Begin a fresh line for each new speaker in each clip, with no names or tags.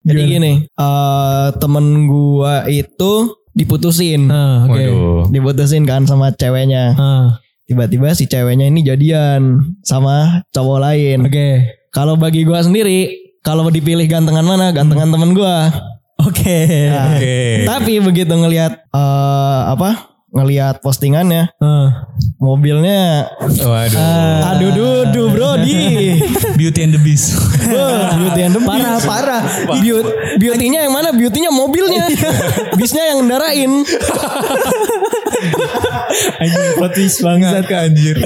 Jadi
Gimana?
gini, eh, temen gua itu diputusin.
Ah, oke.
Waduh.
Diputusin kan sama ceweknya.
Ah,
Tiba-tiba si ceweknya ini jadian sama cowok lain.
oke.
Kalau bagi gua sendiri, kalau dipilih gantengan mana? Gantengan temen gua.
Oke.
Nah, Tapi begitu ngelihat eh, apa? Ngelihat postingannya,
Ah.
mobilnya
Waduh.
aduh dudu bro di
Beauty and the Beast.
Wah, beauty and the parah parah Beauty, beautynya yang mana beautynya mobilnya bisnya yang ndarain
Anjing plot twist bangsat kan anjir.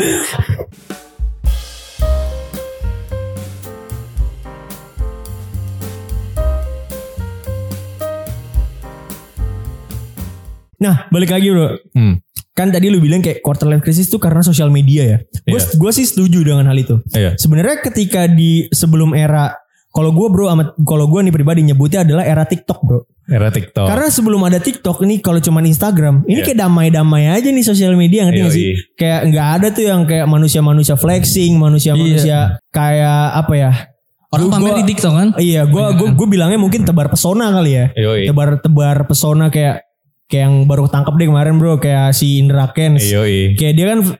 Nah, balik lagi bro.
Hmm.
Kan tadi lu bilang kayak quarter life crisis itu karena sosial media ya. Gue
Iya.
gua sih setuju dengan hal itu.
Iya.
Sebenarnya ketika di sebelum era kalau gue bro amat kalau gue nih pribadi nyebutnya adalah era TikTok bro.
Oh.
Era TikTok.
Karena sebelum ada TikTok ini kalau cuman Instagram, ini
Iya.
kayak damai-damai aja nih sosial media ngerti gak
Iya,
Yoi.
sih? Kayak nggak ada tuh yang kayak manusia-manusia flexing, manusia-manusia kayak apa ya?
Iya. Orang
Gua-
pamer di TikTok kan?
Iya, gua gua, gua bilangnya mungkin tebar pesona kali ya.
Yoi.
Tebar-tebar pesona kayak kayak yang baru tangkap deh kemarin bro, kayak si Indra Kens.
Yoi.
Kayak dia kan f-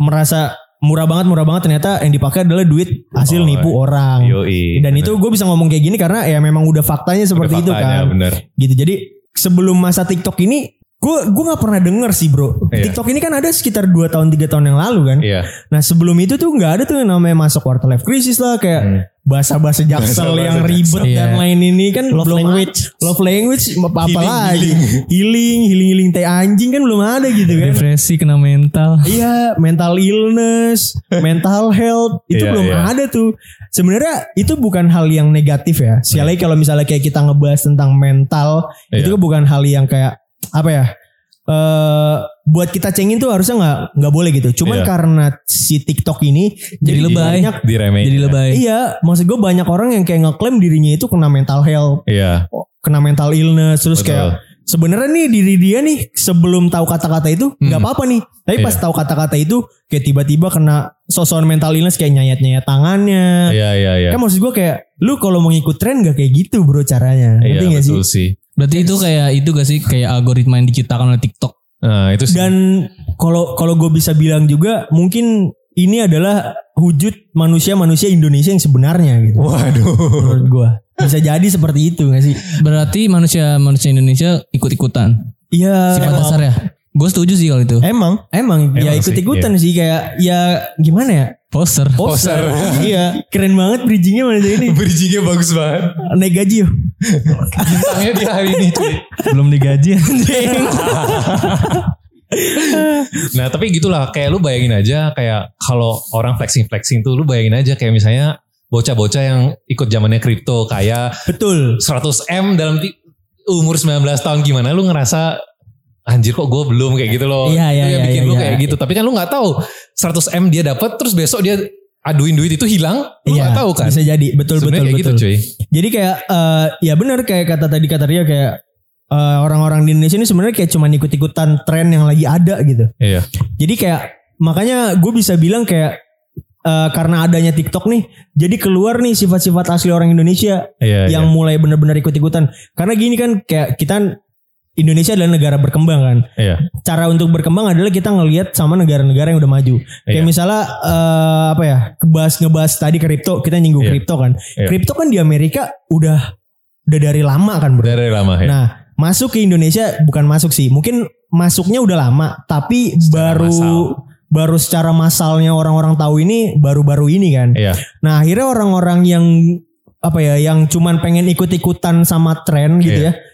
merasa murah banget, murah banget ternyata yang dipakai adalah duit hasil
Oh,
nipu orang.
Yoi. iya,
Dan itu gue bisa ngomong kayak gini karena ya memang udah faktanya seperti itu
Faktanya,
kan
Bener.
gitu jadi sebelum masa TikTok ini gue gue nggak pernah denger sih bro
Iya.
TikTok ini kan ada sekitar 2 tahun tiga tahun yang lalu kan
Iya.
nah sebelum itu tuh nggak ada tuh yang namanya masuk quarter life crisis lah kayak
Hmm.
bahasa-bahasa jaksel
Bahasa-bahasa
yang ribet
Jaksel.
dan
Iya.
lain ini kan
Love language.
love language apa apa lagi healing healing healing teh anjing kan belum ada gitu kan
Depresi kena mental.
Iya, mental illness, mental health itu
Iya,
belum
iya.
ada tuh. Sebenarnya itu bukan hal yang negatif ya. Sekali lagi kalau misalnya kayak kita ngebahas tentang mental,
Iya.
itu bukan hal yang kayak apa ya? eh buat kita cengin tuh harusnya nggak nggak boleh gitu. Cuman
Iya.
karena si TikTok ini jadi,
Jadi lebay.
banyak.
Diremehin.
Jadi lebay.
Iya, maksud gue banyak orang yang kayak ngeklaim dirinya itu kena mental health,
Iya.
kena mental illness, terus
Betul.
kayak sebenarnya nih diri dia nih sebelum tahu kata-kata itu
Hmm.
nggak apa-apa nih tapi pas
Iya.
tahu kata-kata itu kayak tiba-tiba kena sosok mental illness kayak nyayat-nyayat tangannya
Iya iya iya.
kan maksud gue kayak lu kalau mau ngikut tren gak kayak gitu bro caranya
Iya
ngerti gak sih
betul sih.
Berarti itu kayak itu gak sih kayak algoritma yang diciptakan oleh TikTok.
Nah itu sih.
dan kalau kalau gue bisa bilang juga mungkin ini adalah wujud manusia-manusia Indonesia yang sebenarnya gitu
Waduh.
menurut gue bisa jadi seperti itu gak sih
Berarti manusia manusia Indonesia ikut-ikutan.
iya
Sifat dasar ya. Gue setuju sih kalau itu.
emang
emang, ya
Emang sih, iya.
ikut-ikutan sih kayak ya gimana ya
Poster.
Poster. iya. Keren banget bridgingnya mana tuh ini.
Bridgingnya bagus banget.
Naik gaji yuk.
Bintangnya di hari ini cuy.
Belum digaji.
Nah tapi gitulah kayak lu bayangin aja kayak kalau orang flexing flexing tuh lu bayangin aja kayak misalnya bocah-bocah yang ikut zamannya kripto kayak
Betul.
100 m dalam ti- umur 19 tahun gimana lu ngerasa anjir kok gue belum kayak gitu loh
Iya, iya,
Itu yang
iya,
bikin
iya,
lu
iya.
kayak gitu tapi kan lu nggak tahu 100 m dia dapat terus besok dia aduin duit itu hilang lu
Iya.
nggak tahu kan
Bisa jadi. Betul
Sebenarnya
betul
kayak
betul.
gitu cuy
jadi kayak eh, ya benar kayak kata tadi kata dia kayak eh, orang-orang di Indonesia ini sebenarnya kayak cuman ikut-ikutan tren yang lagi ada gitu.
iya
Jadi kayak makanya gue bisa bilang kayak eh, karena adanya TikTok nih, jadi keluar nih sifat-sifat asli orang Indonesia
iya
yang mulai benar-benar ikut-ikutan. Karena gini kan kayak kita Indonesia adalah negara berkembang kan.
iya
cara untuk berkembang adalah kita ngelihat sama negara-negara yang udah maju.
Iya.
Kayak misalnya eh, apa ya? Kebahas ngebahas tadi kripto, kita nyinggung
Iya.
kripto kan.
Iya.
Kripto kan di Amerika udah udah dari lama kan, Bro.
dari lama ya
Nah, masuk ke Indonesia bukan masuk sih. Mungkin masuknya udah lama, tapi
Secara
baru
massal.
baru secara masalnya orang-orang tahu ini baru-baru ini kan.
iya
Nah akhirnya orang-orang yang apa ya yang cuman pengen ikut-ikutan sama tren gitu
Iya.
ya.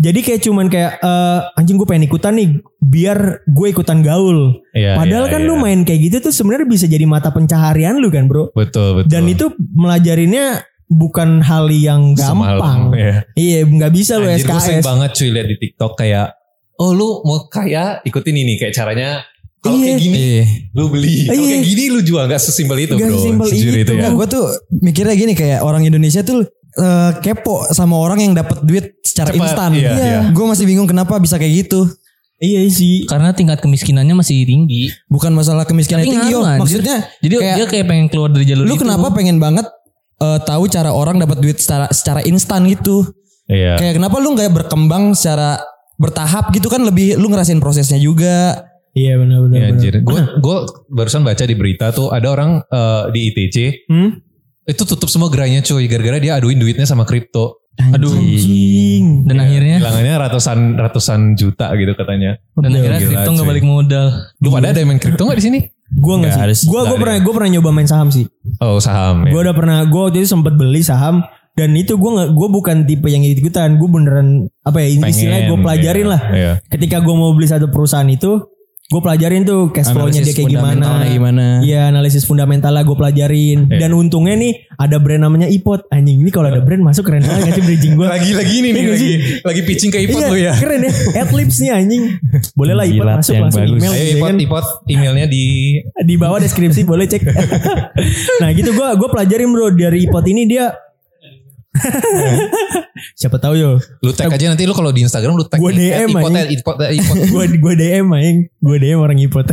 Jadi kayak cuman kayak eh, anjing gue pengen ikutan nih biar gue ikutan gaul.
iya
Padahal
iya,
kan
iya.
lu main kayak gitu tuh sebenarnya bisa jadi mata pencaharian lu kan bro.
betul betul
Dan itu melajarinya bukan hal yang
Semalam,
gampang.
iya.
Iya nggak bisa lu
Anjir gue sering
SKS.
banget cuy lihat di TikTok kayak oh lu mau kaya ikutin ini kayak caranya kalau
Iya.
kayak gini lu beli kalau
Iya.
kayak gini lu jual Oh, nggak sesimpel itu
Nggak
bro
sesimpel
Sejujur
itu,
ya
Bang.
gue tuh mikirnya gini kayak orang Indonesia tuh eh, kepo sama orang yang dapat duit secara
Cepat,
instan.
iya, iya.
Gue masih bingung kenapa bisa kayak gitu. Kan
Iya sih.
Karena tingkat kemiskinannya masih tinggi.
Bukan masalah kemiskinan
Tapi
tinggi, Om.
ngaruh, anjir.
maksudnya
Jadi
Kayak-
dia kayak pengen keluar dari jalur
lu
itu.
kenapa pengen banget eh, tahu cara orang dapat duit secara secara instan gitu?
Iya.
Kayak kenapa lu nggak berkembang secara bertahap gitu kan lebih lu ngerasain prosesnya juga.
Iya benar-benar.
Iya, anjir. Gue barusan baca di berita tuh ada orang eh, di ITC
Hmm?
itu tutup semua gerainya cuy gara-gara dia aduin duitnya sama kripto.
Aduh. Dan
Iya.
akhirnya
Hilangannya ratusan ratusan juta gitu katanya.
dan akhirnya
Gila,
kripto nggak
cuy.
balik modal.
Lu pada ada yang main kripto nggak di sini?
Gue nggak
Nggak
sih.
ada- nggak
Gue gue
ada
pernah
ya.
gue pernah nyoba main saham sih.
Oh saham. ya.
Gue udah pernah gue waktu itu sempet beli saham dan itu gue nggak gue bukan tipe yang ikut-ikutan. Gue beneran apa ya
Pengen,
istilahnya gue pelajarin
iya,
lah.
Iya.
Ketika gue mau beli satu perusahaan itu gue pelajarin tuh cash flow-nya
Analisis
dia kayak
fundamentalnya
gimana.
gimana.
Iya analisis fundamental lah gue pelajarin
Iya.
dan untungnya nih ada brand namanya Ipot anjing ini kalau ada brand masuk keren banget nggak sih bridging gue
Lagi-lagi ini nih
Iya
lagi
sih?
lagi pitching ke Ipot
Iya,
lu ya.
keren ya Adlibs nih anjing boleh lah Ipot
Jilat
masuk
yang
langsung
bagus.
email
Ayo
gitu ya
Eh, Iya, Ipot,
kan.
Ipot emailnya di
di bawah deskripsi boleh cek nah gitu gue gue pelajarin bro dari Ipot ini dia siapa tahu yo
lu tag aja nanti lu kalau di Instagram lu tag
Gua
nih,
DM,
Ipot ya,
anjing.
Ipot Ipot.
gue gue DM anjing gue DM orang Ipot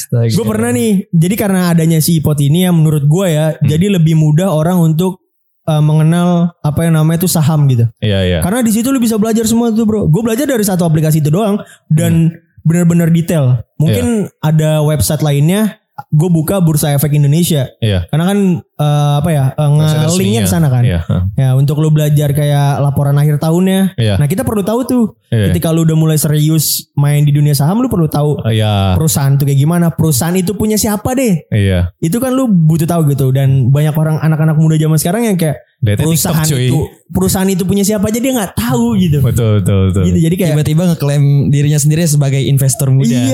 Gitu.
gue pernah nih jadi karena adanya si Ipot ini ya menurut gue ya
Hmm.
jadi lebih mudah orang untuk eh, mengenal apa yang namanya itu saham gitu
Iya iya.
Karena di situ lu bisa belajar semua tuh bro. Gue belajar dari satu aplikasi itu doang dan
Hmm.
benar-benar detail.
Iya.
Mungkin ada website lainnya. Gue buka Bursa Efek Indonesia.
Iya.
Karena kan eh, apa ya eh,
Website
nge-linknya
resminya.
ke sana kan.
Iya. heeh.
Ya untuk lu belajar kayak laporan akhir tahunnya.
Iya.
Nah kita perlu tahu tuh
Iya.
ketika lu udah mulai serius main di dunia saham, lu perlu tahu
Iya.
perusahaan tuh kayak gimana, perusahaan itu punya siapa deh.
Iya.
Itu kan lu butuh tahu gitu dan banyak orang anak-anak muda zaman sekarang yang kayak
Lihatnya
perusahaan
TikTok, cuy.
itu perusahaan itu punya siapa aja dia nggak tahu gitu.
Betul betul betul.
Gitu jadi kayak
Tiba-tiba ngeklaim dirinya sendiri sebagai investor muda.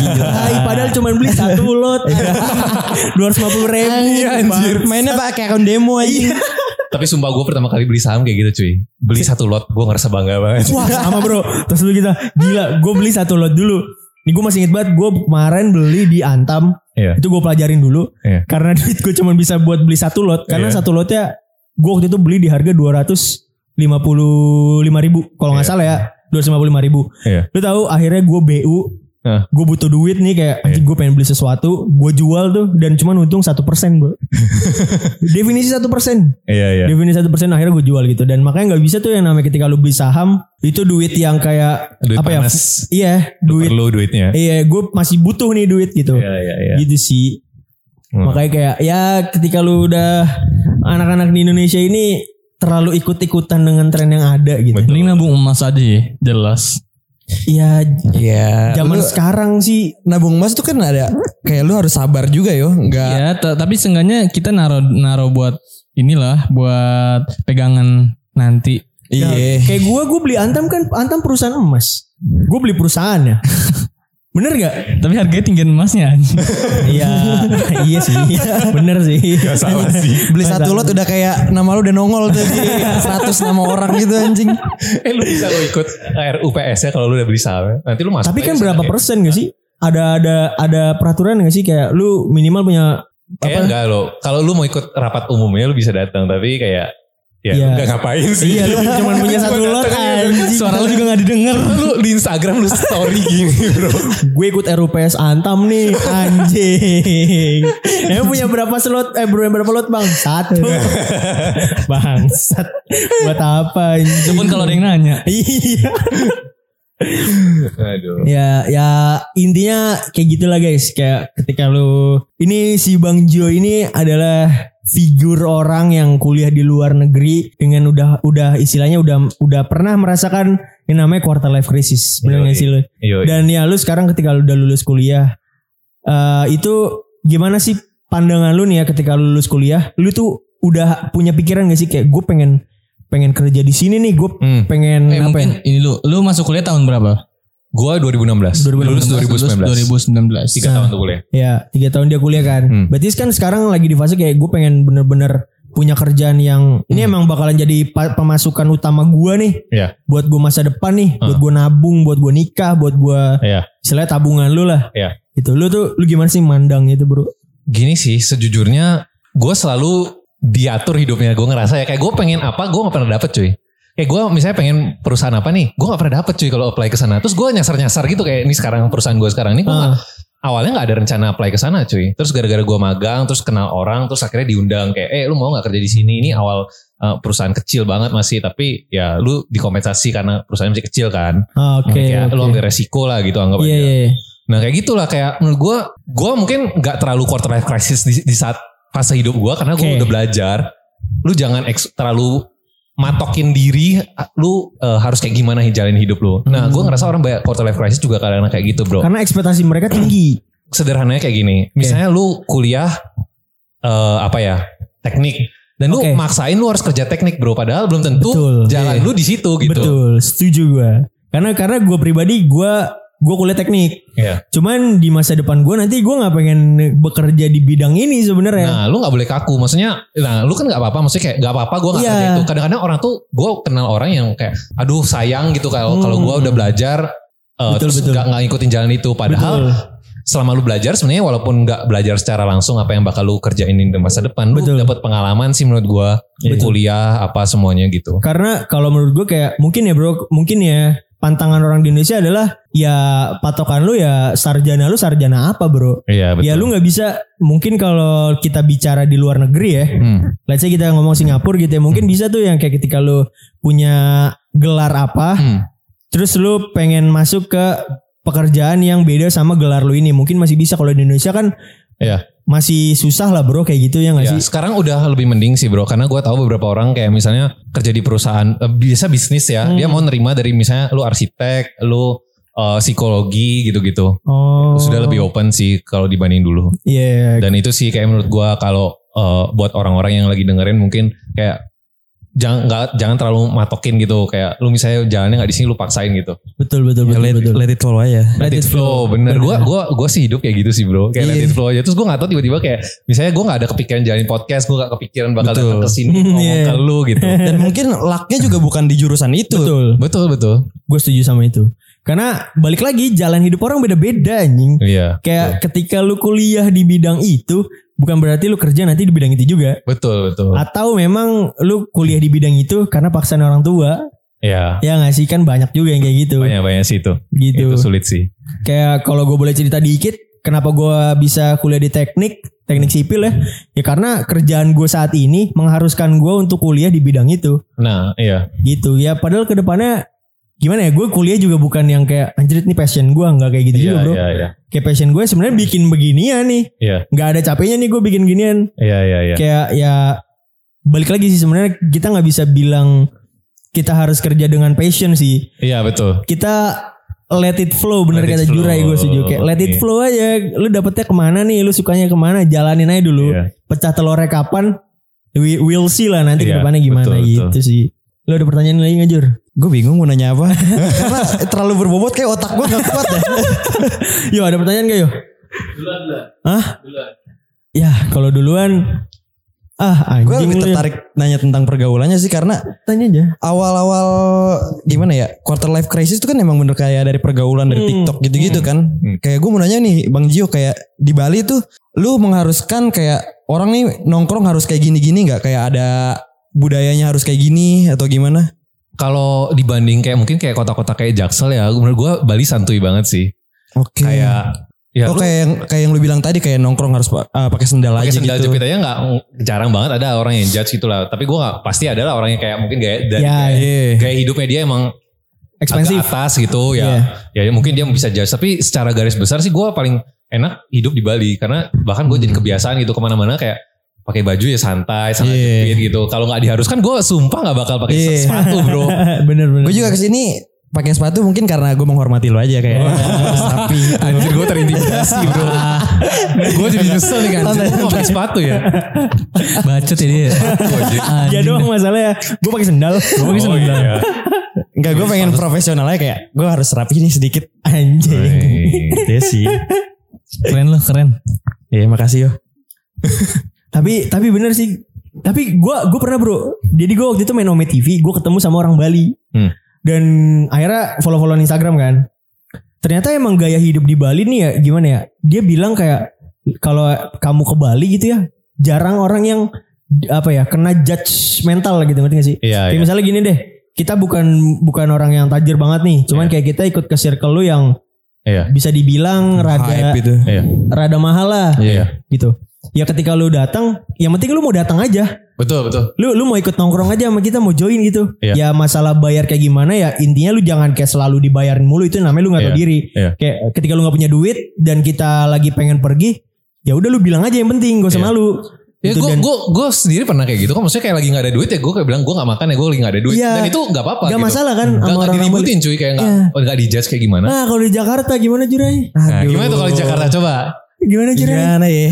Iya, Hai, padahal cuma beli satu lot, dua ratus lima puluh ribu.
Iya,
Iya,
Anjir. Mainnya pakai akun demo aja.
Tapi sumpah gue pertama kali beli saham kayak gitu cuy. Beli satu lot gue ngerasa bangga banget.
Wah, sama bro. Terus lu kita gila. Gue beli satu lot dulu. Ini gue masih inget banget. Gue kemarin beli di Antam.
Iya.
Itu gue pelajarin dulu.
Iya.
Karena duit gue cuma bisa buat beli satu lot. Karena
Iya.
satu lotnya gue waktu itu beli di harga dua ratus lima puluh lima ribu. Kalau nggak
Iya.
salah ya. 255 ribu
Iya.
Lu tahu akhirnya gue BU
Hah. Iya.
Gue butuh duit nih kayak anjing gue pengen beli sesuatu Gue jual tuh dan cuman untung 1% bro Definisi 1%
Iya iya.
Definisi 1% akhirnya gue jual gitu Dan makanya gak bisa tuh yang namanya ketika lu beli saham Itu duit yang kayak
Duit
apa
panas.
ya Iya
Lu
duit
Perlu duitnya.
Iya gue masih butuh nih duit gitu
Iya iya iya.
Gitu sih
Hmm.
Makanya kayak ya ketika lu udah Anak-anak di Indonesia ini Terlalu ikut-ikutan dengan tren yang ada gitu
Mending nabung emas aja ya, jelas.
Iya
Iya. Lu
zaman sekarang sih
nabung emas tuh kan ada kayak lu harus sabar juga yo, enggak
Ya, ta- tapi seenggaknya kita naro naro buat inilah buat pegangan nanti.
iya.
Kayak gue, gue beli Antam kan, Antam perusahaan emas. Gue beli perusahaannya. Bener gak?
Tapi harganya tinggian emasnya. anjing.
Iya, iya sih. Bener sih. Gak salah sih.
Beli satu lot udah kayak nama lu udah nongol tuh di 100 nama orang gitu anjing.
Eh lu bisa lu ikut RUPS ya kalau lu udah beli saham. Nanti lu masuk.
Tapi
aja
kan
sana,
berapa
kayak-
persen gak sih? Ada ada ada peraturan gak sih kayak lu minimal punya
Kayak enggak lo. Kalau lu mau ikut rapat umumnya lu bisa datang tapi kayak ya lu
Iya.
enggak ngapain sih.
Iya, lu cuma punya satu lot anjing.
Suara lu juga gak didengar.
lu di Instagram lu story gini bro.
Gue ikut RUPS Antam nih, anjing. Emang punya berapa slot? Eh, berapa lot, Bang? Satu. Bangsat. Buat apa anjing?
Pun kalau ada yang nanya.
Iya.
Aduh.
Ya, ya intinya kayak gitulah guys. Kayak ketika lu ini si Bang Jo ini adalah figur orang yang kuliah di luar negeri dengan udah udah istilahnya udah udah pernah merasakan yang namanya quarter life crisis. Benar nggak sih lu?
Yo,
Dan ya lu sekarang ketika lu udah lulus kuliah eh, itu gimana sih pandangan lu nih ya ketika lu lulus kuliah? Lu tuh udah punya pikiran gak sih kayak gue pengen pengen kerja di sini nih, gue
Hmm.
pengen
Eh,
apa ya?
mungkin ini lu, lu masuk kuliah tahun berapa?
Gua 2016. Lulus 2019.
2019.
Tiga tahun tuh kuliah.
Ya, tiga tahun dia kuliah kan.
Hmm.
Berarti kan sekarang lagi di fase kayak gue pengen bener-bener punya kerjaan yang ini emang bakalan jadi pa- pemasukan utama gue nih.
Hmm. Iya. Hmm.
Buat gue masa depan nih, buat gue nabung, buat gue nikah, buat gue
Iya.
istilahnya tabungan lu lah.
Iya.
Itu lu tuh lu gimana sih mandang itu bro?
gini sih sejujurnya gue selalu diatur hidupnya gue ngerasa ya kayak gue pengen apa gue nggak pernah dapet cuy kayak gue misalnya pengen perusahaan apa nih gue nggak pernah dapet cuy kalau apply ke sana terus gue nyasar nyasar gitu kayak ini sekarang perusahaan gue sekarang ini gue nggak- awalnya nggak ada rencana apply ke sana cuy terus gara-gara gue magang terus kenal orang terus akhirnya diundang kayak eh lu mau nggak kerja di sini ini awal eh, perusahaan kecil banget masih tapi ya lu dikompensasi karena perusahaan masih kecil kan.
Ah, Oke.
Kayak
oke.
lu ambil resiko lah gitu anggap
Iya
aja.
iya. iya.
Nah kayak gitulah kayak menurut gue, gue mungkin nggak terlalu quarter life crisis di, di saat fase hidup gue karena gue
Oke.
udah belajar. Lu jangan eks- terlalu matokin diri, lu eh, harus kayak gimana jalanin hidup lu. Nah
Hmm.
gue ngerasa orang banyak quarter life crisis juga kadang kayak gitu bro.
Karena ekspektasi mereka tinggi.
Sederhananya kayak gini, misalnya lu kuliah eh, apa ya teknik. Dan lu
Oke.
maksain lu harus kerja teknik bro, padahal belum tentu
Betul.
jalan
Iya.
lu di situ gitu.
Betul, setuju gue. Karena karena gue pribadi gue gue kuliah teknik.
Iya.
Cuman di masa depan gue nanti gue nggak pengen bekerja di bidang ini sebenarnya.
Nah, lu nggak boleh kaku. Maksudnya, nah, lu kan nggak apa-apa. Maksudnya kayak nggak apa-apa. Gue nggak
Iya.
kerja itu. Kadang-kadang orang tuh, gue kenal orang yang kayak, aduh sayang gitu kalau
Hmm.
kalau gue udah belajar, eh,
Betul,
terus
betul.
nggak nggak ngikutin jalan itu. Padahal
Betul.
selama lu belajar, sebenarnya walaupun nggak belajar secara langsung apa yang bakal lu kerjain di masa depan,
Betul.
lu dapat pengalaman sih menurut gue, kuliah apa semuanya gitu.
Karena kalau menurut gue kayak mungkin ya bro, mungkin ya pantangan orang di Indonesia adalah ya patokan lu ya sarjana lu sarjana apa bro?
Iya betul.
Ya lu nggak bisa mungkin kalau kita bicara di luar negeri ya,
Hmm.
let's say kita ngomong Singapura gitu ya, mungkin bisa tuh yang kayak ketika lu punya gelar apa,
Hmm.
Terus lu pengen masuk ke pekerjaan yang beda sama gelar lu ini. Mungkin masih bisa kalau di Indonesia kan
Iya.
masih susah lah bro kayak gitu ya gak
Ya,
sih?
sekarang udah lebih mending sih bro karena gue tahu beberapa orang kayak misalnya kerja di perusahaan eh, biasa bisnis ya
Hmm.
dia mau nerima dari misalnya lu arsitek lu eh, psikologi gitu-gitu
Oh.
sudah lebih open sih kalau dibanding dulu
Iya.
dan itu sih kayak menurut gue kalau eh, buat orang-orang yang lagi dengerin mungkin kayak jangan nggak jangan terlalu matokin gitu kayak lu misalnya jalannya nggak di sini lu paksain gitu
Betul betul betul
let,
betul.
let it flow aja.
Let it flow, bener. Gue gua, gua sih hidup kayak gitu sih bro. Kayak let it flow aja. Terus gue gak tau tiba-tiba kayak, misalnya gue gak ada kepikiran jalanin podcast, gue gak kepikiran bakal
Betul.
datang kesini ngomong
Iya.
ke lu gitu.
Dan mungkin lucknya juga bukan di jurusan itu.
Betul.
betul, betul.
Gue setuju sama itu. Karena balik lagi jalan hidup orang beda-beda anjing.
Iya.
Kayak ketika lu kuliah di bidang itu bukan berarti lu kerja nanti di bidang itu juga.
Betul, betul.
Atau memang lu kuliah di bidang itu karena paksaan orang tua.
Iya.
Ya ngasih kan banyak juga yang kayak gitu.
Banyak-banyak sih itu. Itu
Gitu.
sulit sih.
Kayak kalau gue boleh cerita dikit, kenapa gue bisa kuliah di teknik, teknik sipil ya? Ya karena kerjaan gue saat ini mengharuskan gue untuk kuliah di bidang itu,
Nah, iya.
gitu. Ya padahal kedepannya gimana ya? Gue kuliah juga bukan yang kayak anjir ini passion gue nggak kayak gitu
Iya,
juga bro.
iya, iya.
Kayak passion gue sebenarnya bikin beginian nih,
Iya.
nggak ada capeknya nih gue bikin ginian.
Iya, iya, iya.
Kayak ya balik lagi sih sebenarnya kita nggak bisa bilang kita harus kerja dengan passion sih
Iya, betul.
kita let it flow
Let
bener
it
kata
flow.
Jurai gue setuju kayak let it
Iya.
flow aja lu dapetnya kemana nih lu sukanya kemana jalanin aja dulu
Iya.
pecah telurnya kapan we will see lah nanti
Iya,
kedepannya gimana
betul,
gitu sih lu ada pertanyaan lagi nggak Jur?
Gue bingung mau nanya apa. Karena terlalu berbobot kayak otak gue gak kuat ya.
yo ada pertanyaan gak yo? duluan Hah? duluan ya kalau duluan ah
Gue
anjing
lebih
lu ya.
tertarik nanya tentang pergaulannya sih. Karena
tanya aja
awal-awal gimana ya. Quarter life crisis itu kan emang bener kayak dari pergaulan dari
Hmm.
TikTok gitu-gitu kan.
Hmm.
Kayak gue mau nanya nih Bang Gio kayak di Bali tuh. Lu mengharuskan kayak orang nih nongkrong harus kayak gini-gini gak? Kayak ada budayanya harus kayak gini atau gimana?
Kalau dibanding kayak mungkin kayak kota-kota kayak Jaksel ya, menurut gue Bali santuy banget sih.
Iya.
Oke.
Kayak ya
Oh
lu
kayak yang kayak yang lu bilang tadi kayak nongkrong harus pa- ah, pakai sendal aja
pakai sendal
gitu.
jepit aja nggak jarang banget ada orang yang judge gitu lah. Tapi gue nggak pasti ada lah orang yang kayak mungkin gaya dari
Ya,
gaya,
iya.
gaya hidupnya dia emang
Expensive. Iya.
agak atas gitu ya. Ya mungkin dia bisa judge. Tapi secara garis besar sih gue paling enak hidup di Bali karena bahkan gue
Hmm.
jadi kebiasaan gitu kemana-mana kayak pakai baju ya santai, santai
Iya.
jepit gitu. Kalau nggak diharuskan gue sumpah nggak bakal pakai
Iya.
sepatu bro.
bener bener
Gue juga kesini pakai sepatu mungkin karena gue menghormati lo aja kayak sapi.
Oh. Anjir gue terintimidasi bro.
gue jadi nyesel nih kan.
Gue mau pakai sepatu ya.
Bacot ya dia.
dia Iya doang masalahnya gue pakai sendal gue pakai
Oh,
sendal
iya.
Enggak gue pengen profesional aja kayak gue harus rapi nih sedikit.
anjing
Iya sih.
Keren loh keren.
Iya makasih yo.
Tapi tapi bener sih. Tapi gua gua pernah bro. Jadi gua waktu itu main Ome TV, gua ketemu sama orang Bali.
Hmm.
Dan akhirnya follow-followan Instagram kan. Ternyata emang gaya hidup di Bali nih ya gimana ya? Dia bilang kayak kalau kamu ke Bali gitu ya, jarang orang yang apa ya kena judge mental gitu ngerti gak sih?
Iya,
Kayak
iya.
misalnya gini deh, kita bukan bukan orang yang tajir banget nih, cuman kayak kita ikut ke circle lu yang
Iya.
bisa dibilang rada
Hype itu.
Iya.
rada mahal lah
Iya.
gitu. ya ketika lu datang yang penting lu mau datang aja
Betul, betul.
lu lu mau ikut nongkrong aja sama kita mau join gitu
Iya.
ya masalah bayar kayak gimana ya intinya lu jangan kayak selalu dibayarin mulu itu namanya lu nggak tahu
Iya.
diri
Iya.
kayak ketika lu nggak punya duit dan kita lagi pengen pergi ya udah lu bilang aja yang penting gak usah
Iya.
malu
Ya
Gitu,
gue
dan-
gue gue sendiri pernah kayak gitu kan maksudnya kayak lagi nggak ada duit ya gue kayak bilang gue nggak makan ya gue lagi nggak ada duit
Iya.
dan itu nggak apa-apa
Nggak masalah
gitu.
kan sama
nggak nggak
orang-orang Iya.
diributin cuy kayak nggak nggak dijudge kayak gimana
ah kalau di Jakarta gimana Jurai
nah, gimana tuh kalau di Jakarta coba
gimana Jurai
Gimana ya?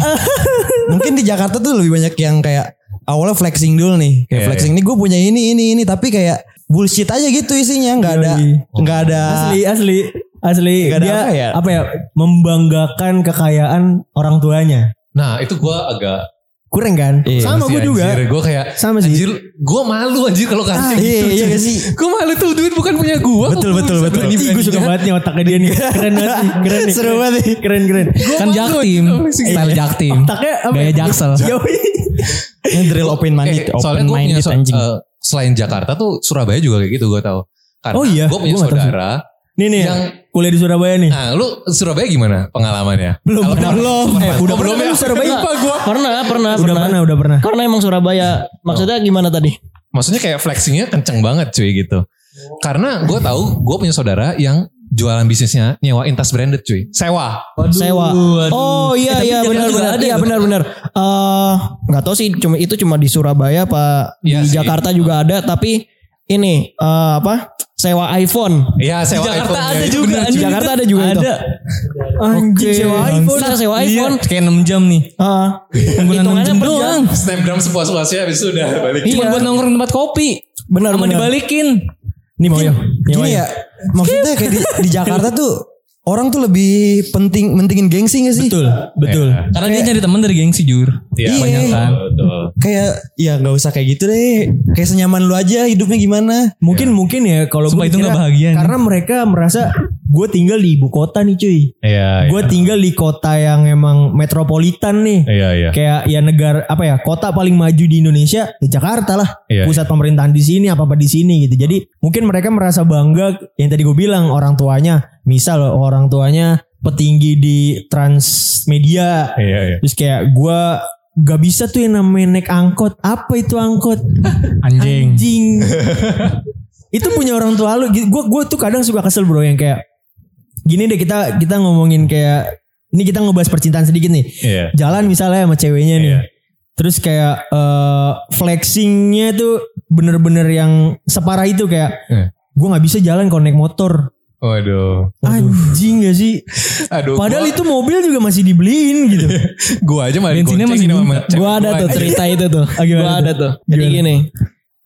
Mungkin di Jakarta tuh lebih banyak yang kayak awalnya flexing dulu nih. Kayak
Iya,
flexing nih gue punya ini ini ini tapi kayak bullshit aja gitu isinya nggak ada
Yoi.
nggak ada
asli asli asli
Gak ada
dia
apa
apa
ya?
ya? membanggakan kekayaan orang tuanya
nah itu gue agak
kurang kan
Iya,
sama gue juga
gue kayak
sama sih
anjir gue malu anjir kalau
Ah, iya,
kasih gitu
iya
cuy.
gak sih?
gue malu tuh duit bukan punya gue
Betul, betul, betul.
Ih, gue suka banget nih otaknya dia nih keren banget nih keren nih
Seru banget nih.
keren keren iya.
Kan jaktim.
Eh,
Style jaktim.
otaknya apa ya.
Gaya jaksel.
Yoi.
Yang drill open minded,
Eh,
open
soalnya gue punya
minded
so-
anjing.
eh, selain Jakarta tuh Surabaya juga kayak gitu gue tahu karena
Oh iya,
gue punya
gua nggak tahu sih.
saudara
nih nih
yang
kuliah di Surabaya nih
nah lu Surabaya gimana pengalamannya
belum
Kalau
pernah belum eh,
Oh,
udah
belum ya?
belum ya Surabaya
Lupa
Pernah, pernah,
udah
pernah.
pernah udah pernah
Karena emang
Oh.
Surabaya. Maksudnya gimana tadi?
maksudnya kayak flexingnya kenceng banget cuy gitu. Karena gue tahu gue punya saudara yang jualan bisnisnya nyewain tas branded cuy, sewa.
Sewa. Oh
Eh,
iya iya benar benar.
ya?
Iya benar benar. Eh nggak tahu sih cuma itu cuma di Surabaya pak
Iya
di
sih.
Jakarta juga ada tapi ini eh, apa? Sewa iPhone.
Iya sewa
Jakarta
iPhone-nya.
ada
Itu
juga.
bener.
Di Jakarta ada juga itu.
Ada.
Anjir, sewa iPhone.
Bangsat.
sewa
Iya,
iPhone.
Kayak 6 jam nih.
Heeh.
Penggunaan 6
Hitungannya
jam
per jam.
doang.
Snapgram sepuas-puasnya habis itu udah balik.
Iya.
Cuma buat nongkrong tempat kopi.
Benar
Sama
benar.
dibalikin.
nih mau ya
Gini ya, maksudnya kayak di, di Jakarta tuh orang tuh lebih penting mentingin gengsi gak sih?
betul betul
Iya.
Karena dia nyari teman dari gengsi jur.
Iya.
Kebanyakan.
Betul.
Kayak ya nggak usah kayak gitu deh. Kayak senyaman lu aja hidupnya gimana?
mungkin mungkin ya kalau
Iya. Sumpah
gue
itu
dikira-
nggak bahagia nih.
karena mereka merasa gue tinggal di ibu kota nih cuy
Iya.
gue tinggal di kota yang emang metropolitan nih
Iya iya.
kayak ya negara apa ya kota paling maju di Indonesia ya Jakarta lah
Iya,
pusat pemerintahan di sini apa apa di sini gitu jadi mungkin mereka merasa bangga yang tadi gue bilang orang tuanya misal orang tuanya petinggi di transmedia
Iya iya.
terus kayak gue gak bisa tuh yang namanya naik angkot apa itu angkot
Anjing.
anjing itu punya orang tua lu gue gue tuh kadang suka kesel bro yang kayak gini deh kita kita ngomongin kayak ini kita ngebahas percintaan sedikit nih
Iya.
jalan misalnya sama ceweknya nih.
Iya.
Terus kayak eh, flexingnya tuh bener-bener yang separah itu kayak
Iya.
gue nggak bisa jalan kalau naik motor.
Waduh.
Anjing gak sih?
Aduh.
Padahal itu mobil juga masih dibeliin gitu.
gue aja malah
Bensinnya
digoncengin
masih
sama
muntah.
cewek
Gua ada
gua
tuh
aja.
cerita itu tuh.
Ah, gimana
Gua
tuh?
ada tuh. Jadi
Gimana?
gini.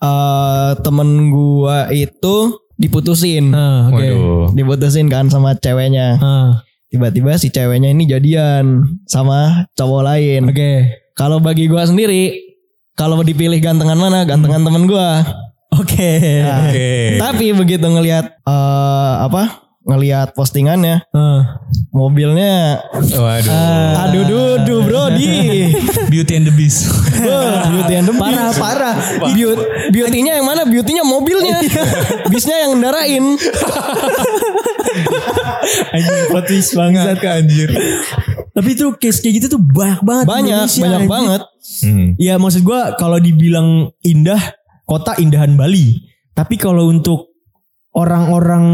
eh temen gua itu diputusin.
Ah, oke.
Waduh.
Diputusin kan sama ceweknya.
Ah,
Tiba-tiba si ceweknya ini jadian sama cowok lain.
oke.
Kalau bagi gua sendiri, kalau dipilih gantengan mana, gantengan temen gua.
Oke.
Nah, Tapi begitu ngelihat eh, apa? Ngelihat postingannya,
Ah.
mobilnya
Waduh.
aduh dudu bro di
Beauty and the Beast.
beauty and the parah parah Beauty- beauty-nya yang mana beauty-nya mobilnya bisnya yang ndarain
Anjing plot twist bangsat anjir. Tapi itu case kayak gitu tuh banyak banget. di
banyak
Indonesia,
banyak
anjing.
banget
Hmm.
Ya maksud gua kalau dibilang indah kota indahan Bali. Tapi kalau untuk orang-orang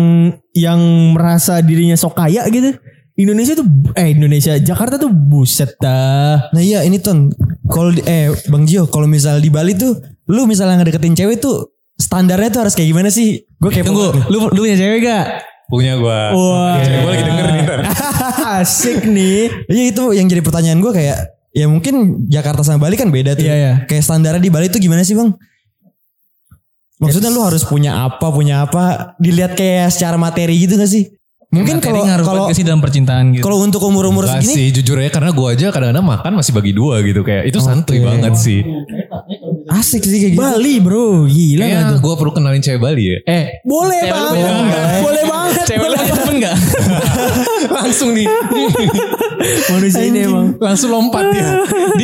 yang merasa dirinya sok kaya gitu. Indonesia tuh eh Indonesia Jakarta tuh buset dah.
Nah iya ini ton. Kalau di- eh Bang Gio, kalau misal di Bali tuh lu misalnya ngedeketin cewek tuh standarnya tuh harus kayak gimana sih? Gue kayak
Tunggu, lu, lu punya cewek gak?
Punya gue.
Wah.
Cewek gue lagi denger nih. ntar.
Asik nih.
Iya itu yang jadi pertanyaan gue kayak ya mungkin Jakarta sama Bali kan beda tuh.
Iya, iya.
Kayak standarnya di Bali tuh gimana sih bang? Maksudnya lu harus punya apa, punya apa? Dilihat kayak secara materi gitu gak sih? Mungkin
Materi
kalau
ngaruh
kalau
banget sih dalam percintaan gitu.
kalau untuk umur-umur
Enggak
segini,
sih jujur ya karena gue aja kadang-kadang makan masih bagi dua gitu kayak itu santuy banget sih.
asik sih kayak gitu.
Bali bro, gila.
Kayaknya gue perlu kenalin cewek Bali ya.
eh,
Boleh
Iya. Cewek lu
banget.
punya
Boleh, banget.
cewek lu punya temen gak?
Langsung nih.
Manusia ini emang.
Langsung lompat ya. dia.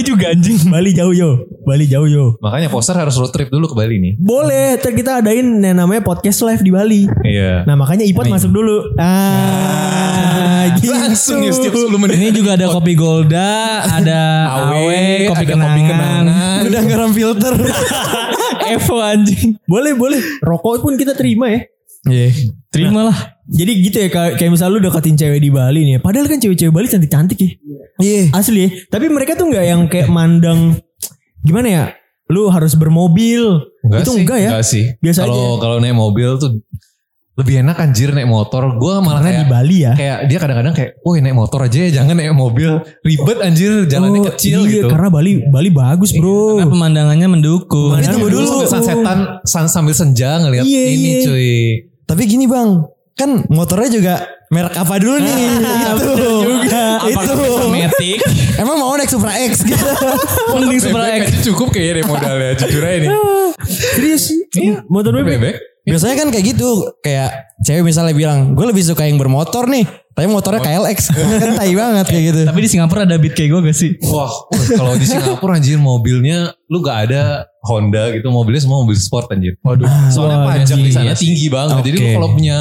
Dia juga anjing.
Bali jauh yo. Bali jauh yo.
Makanya poster harus road trip dulu ke Bali nih.
Boleh, ntar kita adain yang namanya podcast live di Bali.
Iya.
Nah makanya Ipot masuk dulu. Ah, gitu.
Langsung ya setiap 10 menit.
Ini juga ada kopi Golda, ada Awe, kopi,
ada
kenangan.
kopi kenangan.
Udah garam filter.
Evo anjing.
boleh, boleh. Rokok pun kita terima ya.
Iya.
Terima lah.
Jadi gitu ya kayak kayak misal lu deketin cewek di Bali nih. Padahal kan cewek-cewek Bali cantik-cantik ya.
Iya.
Asli ya. Tapi mereka tuh nggak yang kayak mandang gimana ya? Lu harus bermobil.
Enggak
itu
sih,
enggak ya?
Enggak sih.
Biasa
kalau
aja.
kalau naik mobil tuh lebih enak anjir naik motor. Gua malah
Karena
kayak
di Bali ya.
kayak dia kadang-kadang kayak, "Woi, naik motor aja ya, jangan naik mobil. Ribet anjir, jalannya
Oh,
kecil
iya,
gitu."
Karena Bali Bali bagus, Bro.
Karena pemandangannya mendukung.
Pemandangan-
Tunggu dulu sambil sunsetan san- sambil senja ngeliat
Iya,
ini
iya.
cuy.
Tapi gini bang, kan motornya juga merek apa dulu
Ah,
nih?
iya,
itu. itu.
Metik.
Emang mau naik Supra X gitu.
Mending Supra X.
Bebek aja cukup kayaknya deh modalnya jujur aja nih.
Serius. Motor
Bebek.
bebek.
Biasanya kan kayak gitu, kayak cewek misalnya bilang, gue lebih suka yang bermotor nih, tapi motornya KLX, kan tai banget kayak gitu.
Tapi di Singapura ada beat kayak gue gak sih?
Wah, wah, kalau di Singapura anjir mobilnya lu gak ada Honda gitu, mobilnya semua mobil sport anjir. Waduh, soalnya
Wah,
pajak di
iya
sana
sih.
tinggi banget. Jadi lu
Oke.
kalau punya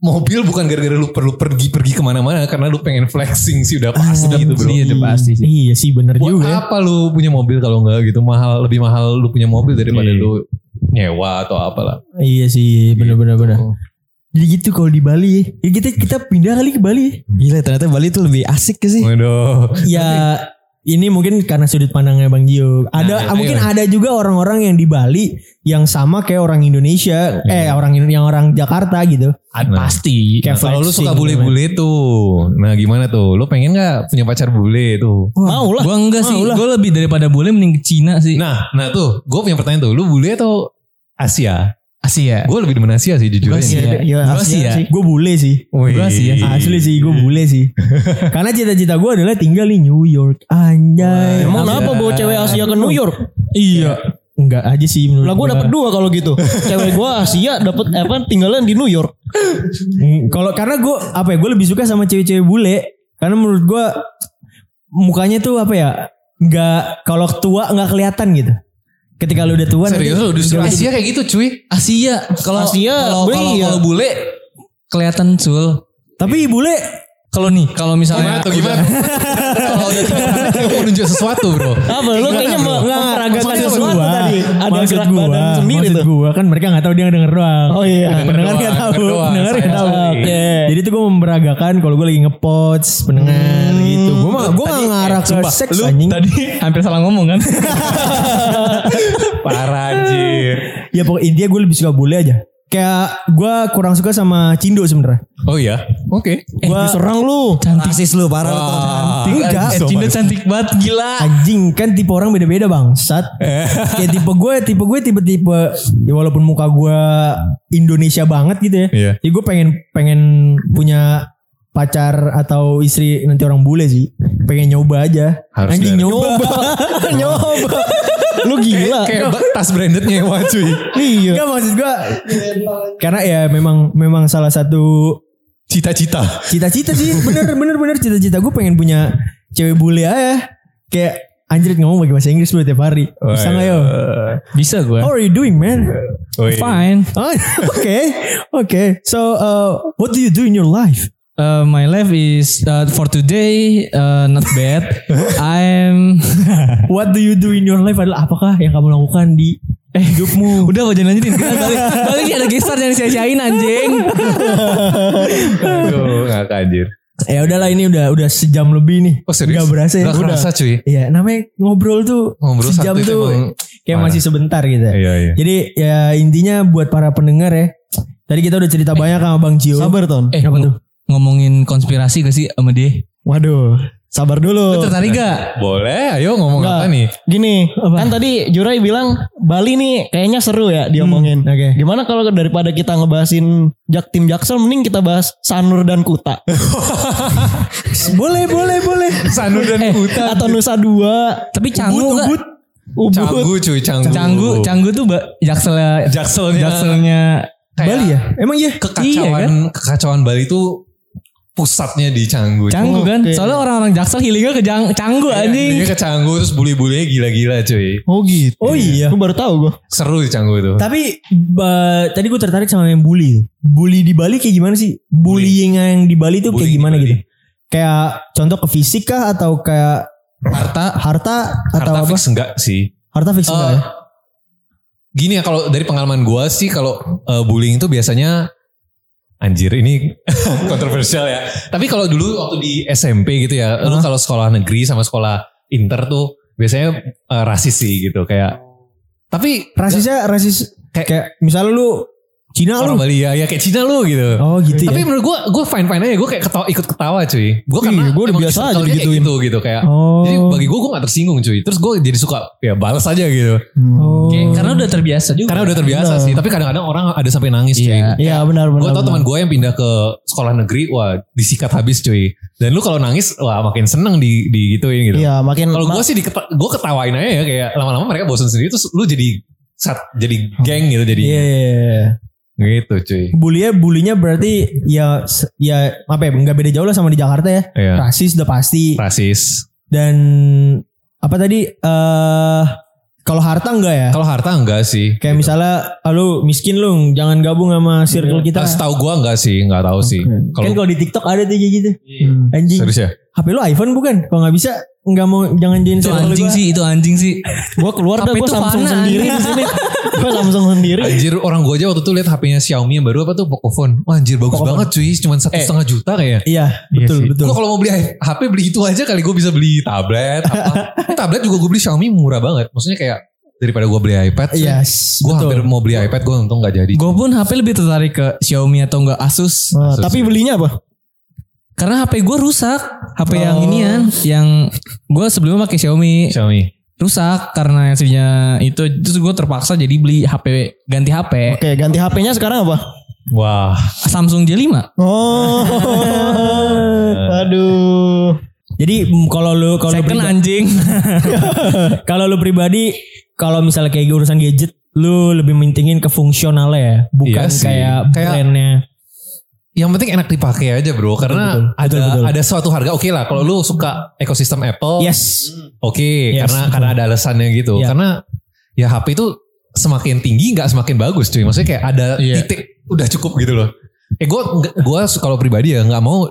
mobil bukan gara-gara lu perlu pergi-pergi kemana-mana karena lu pengen flexing sih udah pasti gitu bro.
Ah, Iya sih bener
Buat
juga. ya.
apa lu punya mobil kalau enggak gitu mahal lebih mahal lu punya mobil daripada lu nyewa atau apalah.
Iya sih bener-bener bener. Jadi gitu kalau di Bali ya. ya. Kita kita pindah kali ke Bali.
Gila ternyata Bali tuh lebih asik sih.
Iya.
Waduh.
Ya ini mungkin karena sudut pandangnya Bang Gio. Ada
Nah, ayo.
mungkin ada juga orang-orang yang di Bali yang sama kayak orang Indonesia, eh orang Indo- yang orang Jakarta gitu.
Nah.
Pasti.
Nah, kalau lu suka bule-bule tuh, nah gimana tuh? Lu pengen nggak punya pacar bule tuh?
Mau lah.
Gue enggak sih. Gue lebih daripada bule mending ke Cina sih.
Nah, nah tuh, gue punya pertanyaan tuh, lu bule atau Asia?
Asia.
Gue lebih demen Eh. Asia sih jujur.
Gua
aja.
sih.
Iya,
Iya.
iya,
Gua sih ya.
Gue bule sih. ya.
Wih.
Gua Asia sih.
Asli sih gue bule sih. Karena cita-cita gue adalah tinggal di New York.
Eh,
Anjay.
Emang
Asia.
kenapa bawa cewek Asia ke New York?
Iya. Enggak aja sih menurut
Lah gue
gua.
dapet dua kalau gitu. Cewek gue Asia dapet apa tinggalan di New York.
Hmm, Kalau karena gue apa ya gue lebih suka sama cewek-cewek bule karena menurut gue mukanya tuh apa ya nggak kalau tua nggak kelihatan gitu. Ketika lu udah tua nanti-
Serius lu justru Asia kayak gitu cuy. Oh,
Asia. Kalau
Asia,
kalau
bule
kalau
iya.
kalau bule kelihatan sul.
Tapi bule
Kalau nih, kalau
Gimana
misalnya
tuh gimana? Kalau udah tiga menit, gua mau nunjuk sesuatu bro.
Apa lu kayaknya mau memperagakan
maksud
sesuatu
gua,
tadi. Ada
maksud
gerak
gua,
badan sendiri
maksud
tuh.
gua kan mereka nggak tahu dia denger doang.
Oh iya.
doang,
pendengar nggak tahu,
denger doang,
pendengar nggak
saya
tahu.
sorry.
Oke.
Jadi tuh gue memperagakan kalau gue lagi ngepots pendengar gitu. Gue mah gue nggak ngarah ke seks anjing.
tadi hampir salah ngomong kan?
Parah anjir.
Ya pokoknya intinya gue lebih suka bule aja. Kayak gue kurang suka sama Cindo sebenarnya.
Oh iya. Oke.
Eh, diserang lu.
Rasis lu parah lu tau.
Ah,
Enggak.
Eh, Cina cantik banget gila.
Anjing kan tipe orang beda-beda bang. Sat. Kayak tipe gue, tipe gue tipe-tipe ya walaupun muka gue Indonesia banget gitu ya.
Iya.
Ya gue pengen pengen punya pacar atau istri nanti orang bule sih. Pengen nyoba aja.
Harus
Anjing
dari-
nyoba. nyoba. Lu gila.
Kayak ba- tas branded nyewa cuy.
Iya.
Enggak maksud gue. Karena ya memang memang salah satu
Cita-cita.
cita-cita sih bener bener bener cita-cita gue pengen punya cewek bule aja kayak anjir ngomong pakai bahasa Inggris lu tiap hari bisa nggak yo
Bisa gue.
how are you doing man
Woi.
Oh, Fine.
oh oke oke so uh, what do you do in your life
Uh, my life is uh, for today uh, not bad. I'm
what do you do in your life adalah apakah yang kamu lakukan di eh hidupmu
udah mau jangan lanjutin. Jangan Balik, balik nih, ada gestar jangan sia-siain anjing.
Aduh, ngakak anjir.
ya udahlah ini udah udah sejam lebih nih
Oh serius?
Nggak berasa ya
Nggak kerasa, cuy.
iya namanya ngobrol tuh
Ngobrol
sejam
Oh, satu itu emang
tuh kayak
parah.
masih sebentar gitu
Iya, iya.
Jadi ya intinya buat para pendengar ya. Tadi kita udah cerita banyak sama Bang Gio.
Sabar ton.
Eh,
Apa tuh?
Ngomongin konspirasi gak sih sama dia?
Waduh. Hmm,
Sabar dulu.
Tertarik
Ya,
gak?
Boleh, ayo ngomong
Nggak.
apa nih?
Gini, kan tadi Jurai bilang Bali nih kayaknya seru ya
Hmm,
diomongin.
oke.
Gimana kalau daripada kita ngebahasin jak tim Jaksel mending kita bahas Sanur dan Kuta
Boleh, boleh, boleh.
Sanur dan Kuta.
atau Nusa Dua,
Eh, Tapi canggu gak?
Ubud.
Canggu cuy, canggu.
Canggu, canggu tuh ba- jakselnya,
Jakselnya.
jakselnya
Kayak
Bali ya? Emang iya?
Kekacauan,
Iya,
kekacauan Bali itu pusatnya di Canggu.
Canggu kan? Soalnya orang-orang Jaksel healingnya ke Jang- Canggu
Iya,
anjing.
Dia ke Canggu terus bully-bullynya gila-gila cuy.
Oh gitu.
Oh iya.
Gue baru tahu gue.
Seru di Canggu tuh.
Tapi ba- tadi gue tertarik sama yang bully. Bully di Bali kayak gimana sih? Bullying yang di Bali tuh kayak
Bullying di
gimana
Bali.
gitu? Kayak contoh ke fisik kah atau kayak
Harta
harta atau
Harta
apa?
fix enggak sih?
Harta fix enggak
Eh,
ya?
Gini ya kalau dari pengalaman gua sih kalau eh, bullying itu biasanya anjir ini kontroversial ya. Tapi kalau dulu waktu di SMP gitu ya, lu kalau sekolah negeri sama sekolah inter tuh biasanya eh, rasis sih gitu kayak. Tapi
Rasisnya rasis kayak,
Kayak-
misalnya lu Cina
orang
lu.
Bali ya, ya kayak Cina lu gitu.
Oh gitu
Tapi
ya.
menurut gue, gue fine fine aja. Gue kayak ketawa, ikut ketawa cuy. Gue
Ih,
karena
Iya, gua udah
emang
biasa
di
aja
circle dia kayak
digituin.
gitu gitu kayak.
Oh.
Jadi bagi gue gue gak tersinggung cuy. Terus gue jadi suka ya balas aja gitu.
Oh.
Oke, Karena udah terbiasa juga.
Karena udah terbiasa sih. Tapi kadang-kadang orang ada sampai nangis cuy.
Iya.
Iya benar benar.
Gue tau
benar.
teman gue yang pindah ke sekolah negeri, wah disikat habis cuy. Dan lu kalau nangis, wah makin seneng di, di gituin gitu.
Iya makin
Kalau
ma-
gue sih gue ketawain aja ya kayak lama-lama mereka bosen sendiri terus lu jadi sat, jadi geng gitu jadi
Iya. iya, iya.
gitu cuy.
Bulinya bulinya berarti ya se- ya apa ya nggak beda jauh lah sama di Jakarta ya.
Iya.
Rasis udah pasti
Rasis.
dan apa tadi eh kalau harta enggak ya?
Kalau harta enggak sih.
Iya.
Kayak misalnya ah, lu miskin lu jangan gabung sama circle
Iya.
kita.
Nah, setahu gue enggak sih, enggak tahu sih.
Kan
Kalau
kalau di TikTok ada tuh kayak gitu.
Hmm.
Anjing.
serius ya?
HP lu iPhone bukan? Kalau nggak bisa nggak mau jangan join
Itu
circle
anjing
gua.
sih, itu anjing sih.
Gua keluar dah
HP
gua
itu
Samsung
fana,
sendiri di sini. Gua Samsung sendiri.
Anjir orang gue aja waktu itu lihat HP-nya Xiaomi yang baru apa tuh Pocophone. Wah anjir bagus
Pocophone.
banget cuy, cuman satu
Eh.
setengah juta kayaknya.
Iya, betul
sih.
betul.
Gua kalau mau beli HP beli itu aja kali gue bisa beli tablet. Apa. Ini tablet juga gue beli Xiaomi murah banget. Maksudnya kayak daripada gue beli iPad.
Iya,
Gue hampir mau beli iPad gue untung gak jadi.
Gue pun HP lebih tertarik ke Xiaomi atau enggak Asus.
Nah, tapi belinya apa?
Karena HP gue rusak. HP yang
Oh.
inian. Yang gue sebelumnya pakai Xiaomi.
Xiaomi.
Rusak karena hasilnya itu. Terus gue terpaksa jadi beli HP. Ganti HP.
Oke, ganti HP-nya sekarang apa?
Wah.
Samsung J5.
Oh. Aduh. Jadi mm, kalau lu kalau lu
Second
priba-
anjing.
kalau lu pribadi kalau misalnya kayak urusan gadget lu lebih mentingin ke fungsionalnya ya, bukan
Iya sih.
kayak,
Kayak-
brandnya.
Yang penting enak dipakai aja bro. Karena
Betul, betul.
ada
Betul, betul. Iya,
ada suatu harga oke lah. Kalau lu suka ekosistem Apple.
Yes.
Oke.
Yes,
karena
betul.
karena ada alasannya gitu.
Iya.
Karena ya HP itu semakin tinggi nggak semakin bagus cuy. Maksudnya kayak ada
Iya.
titik udah cukup gitu loh. Eh gue gue kalau pribadi ya nggak mau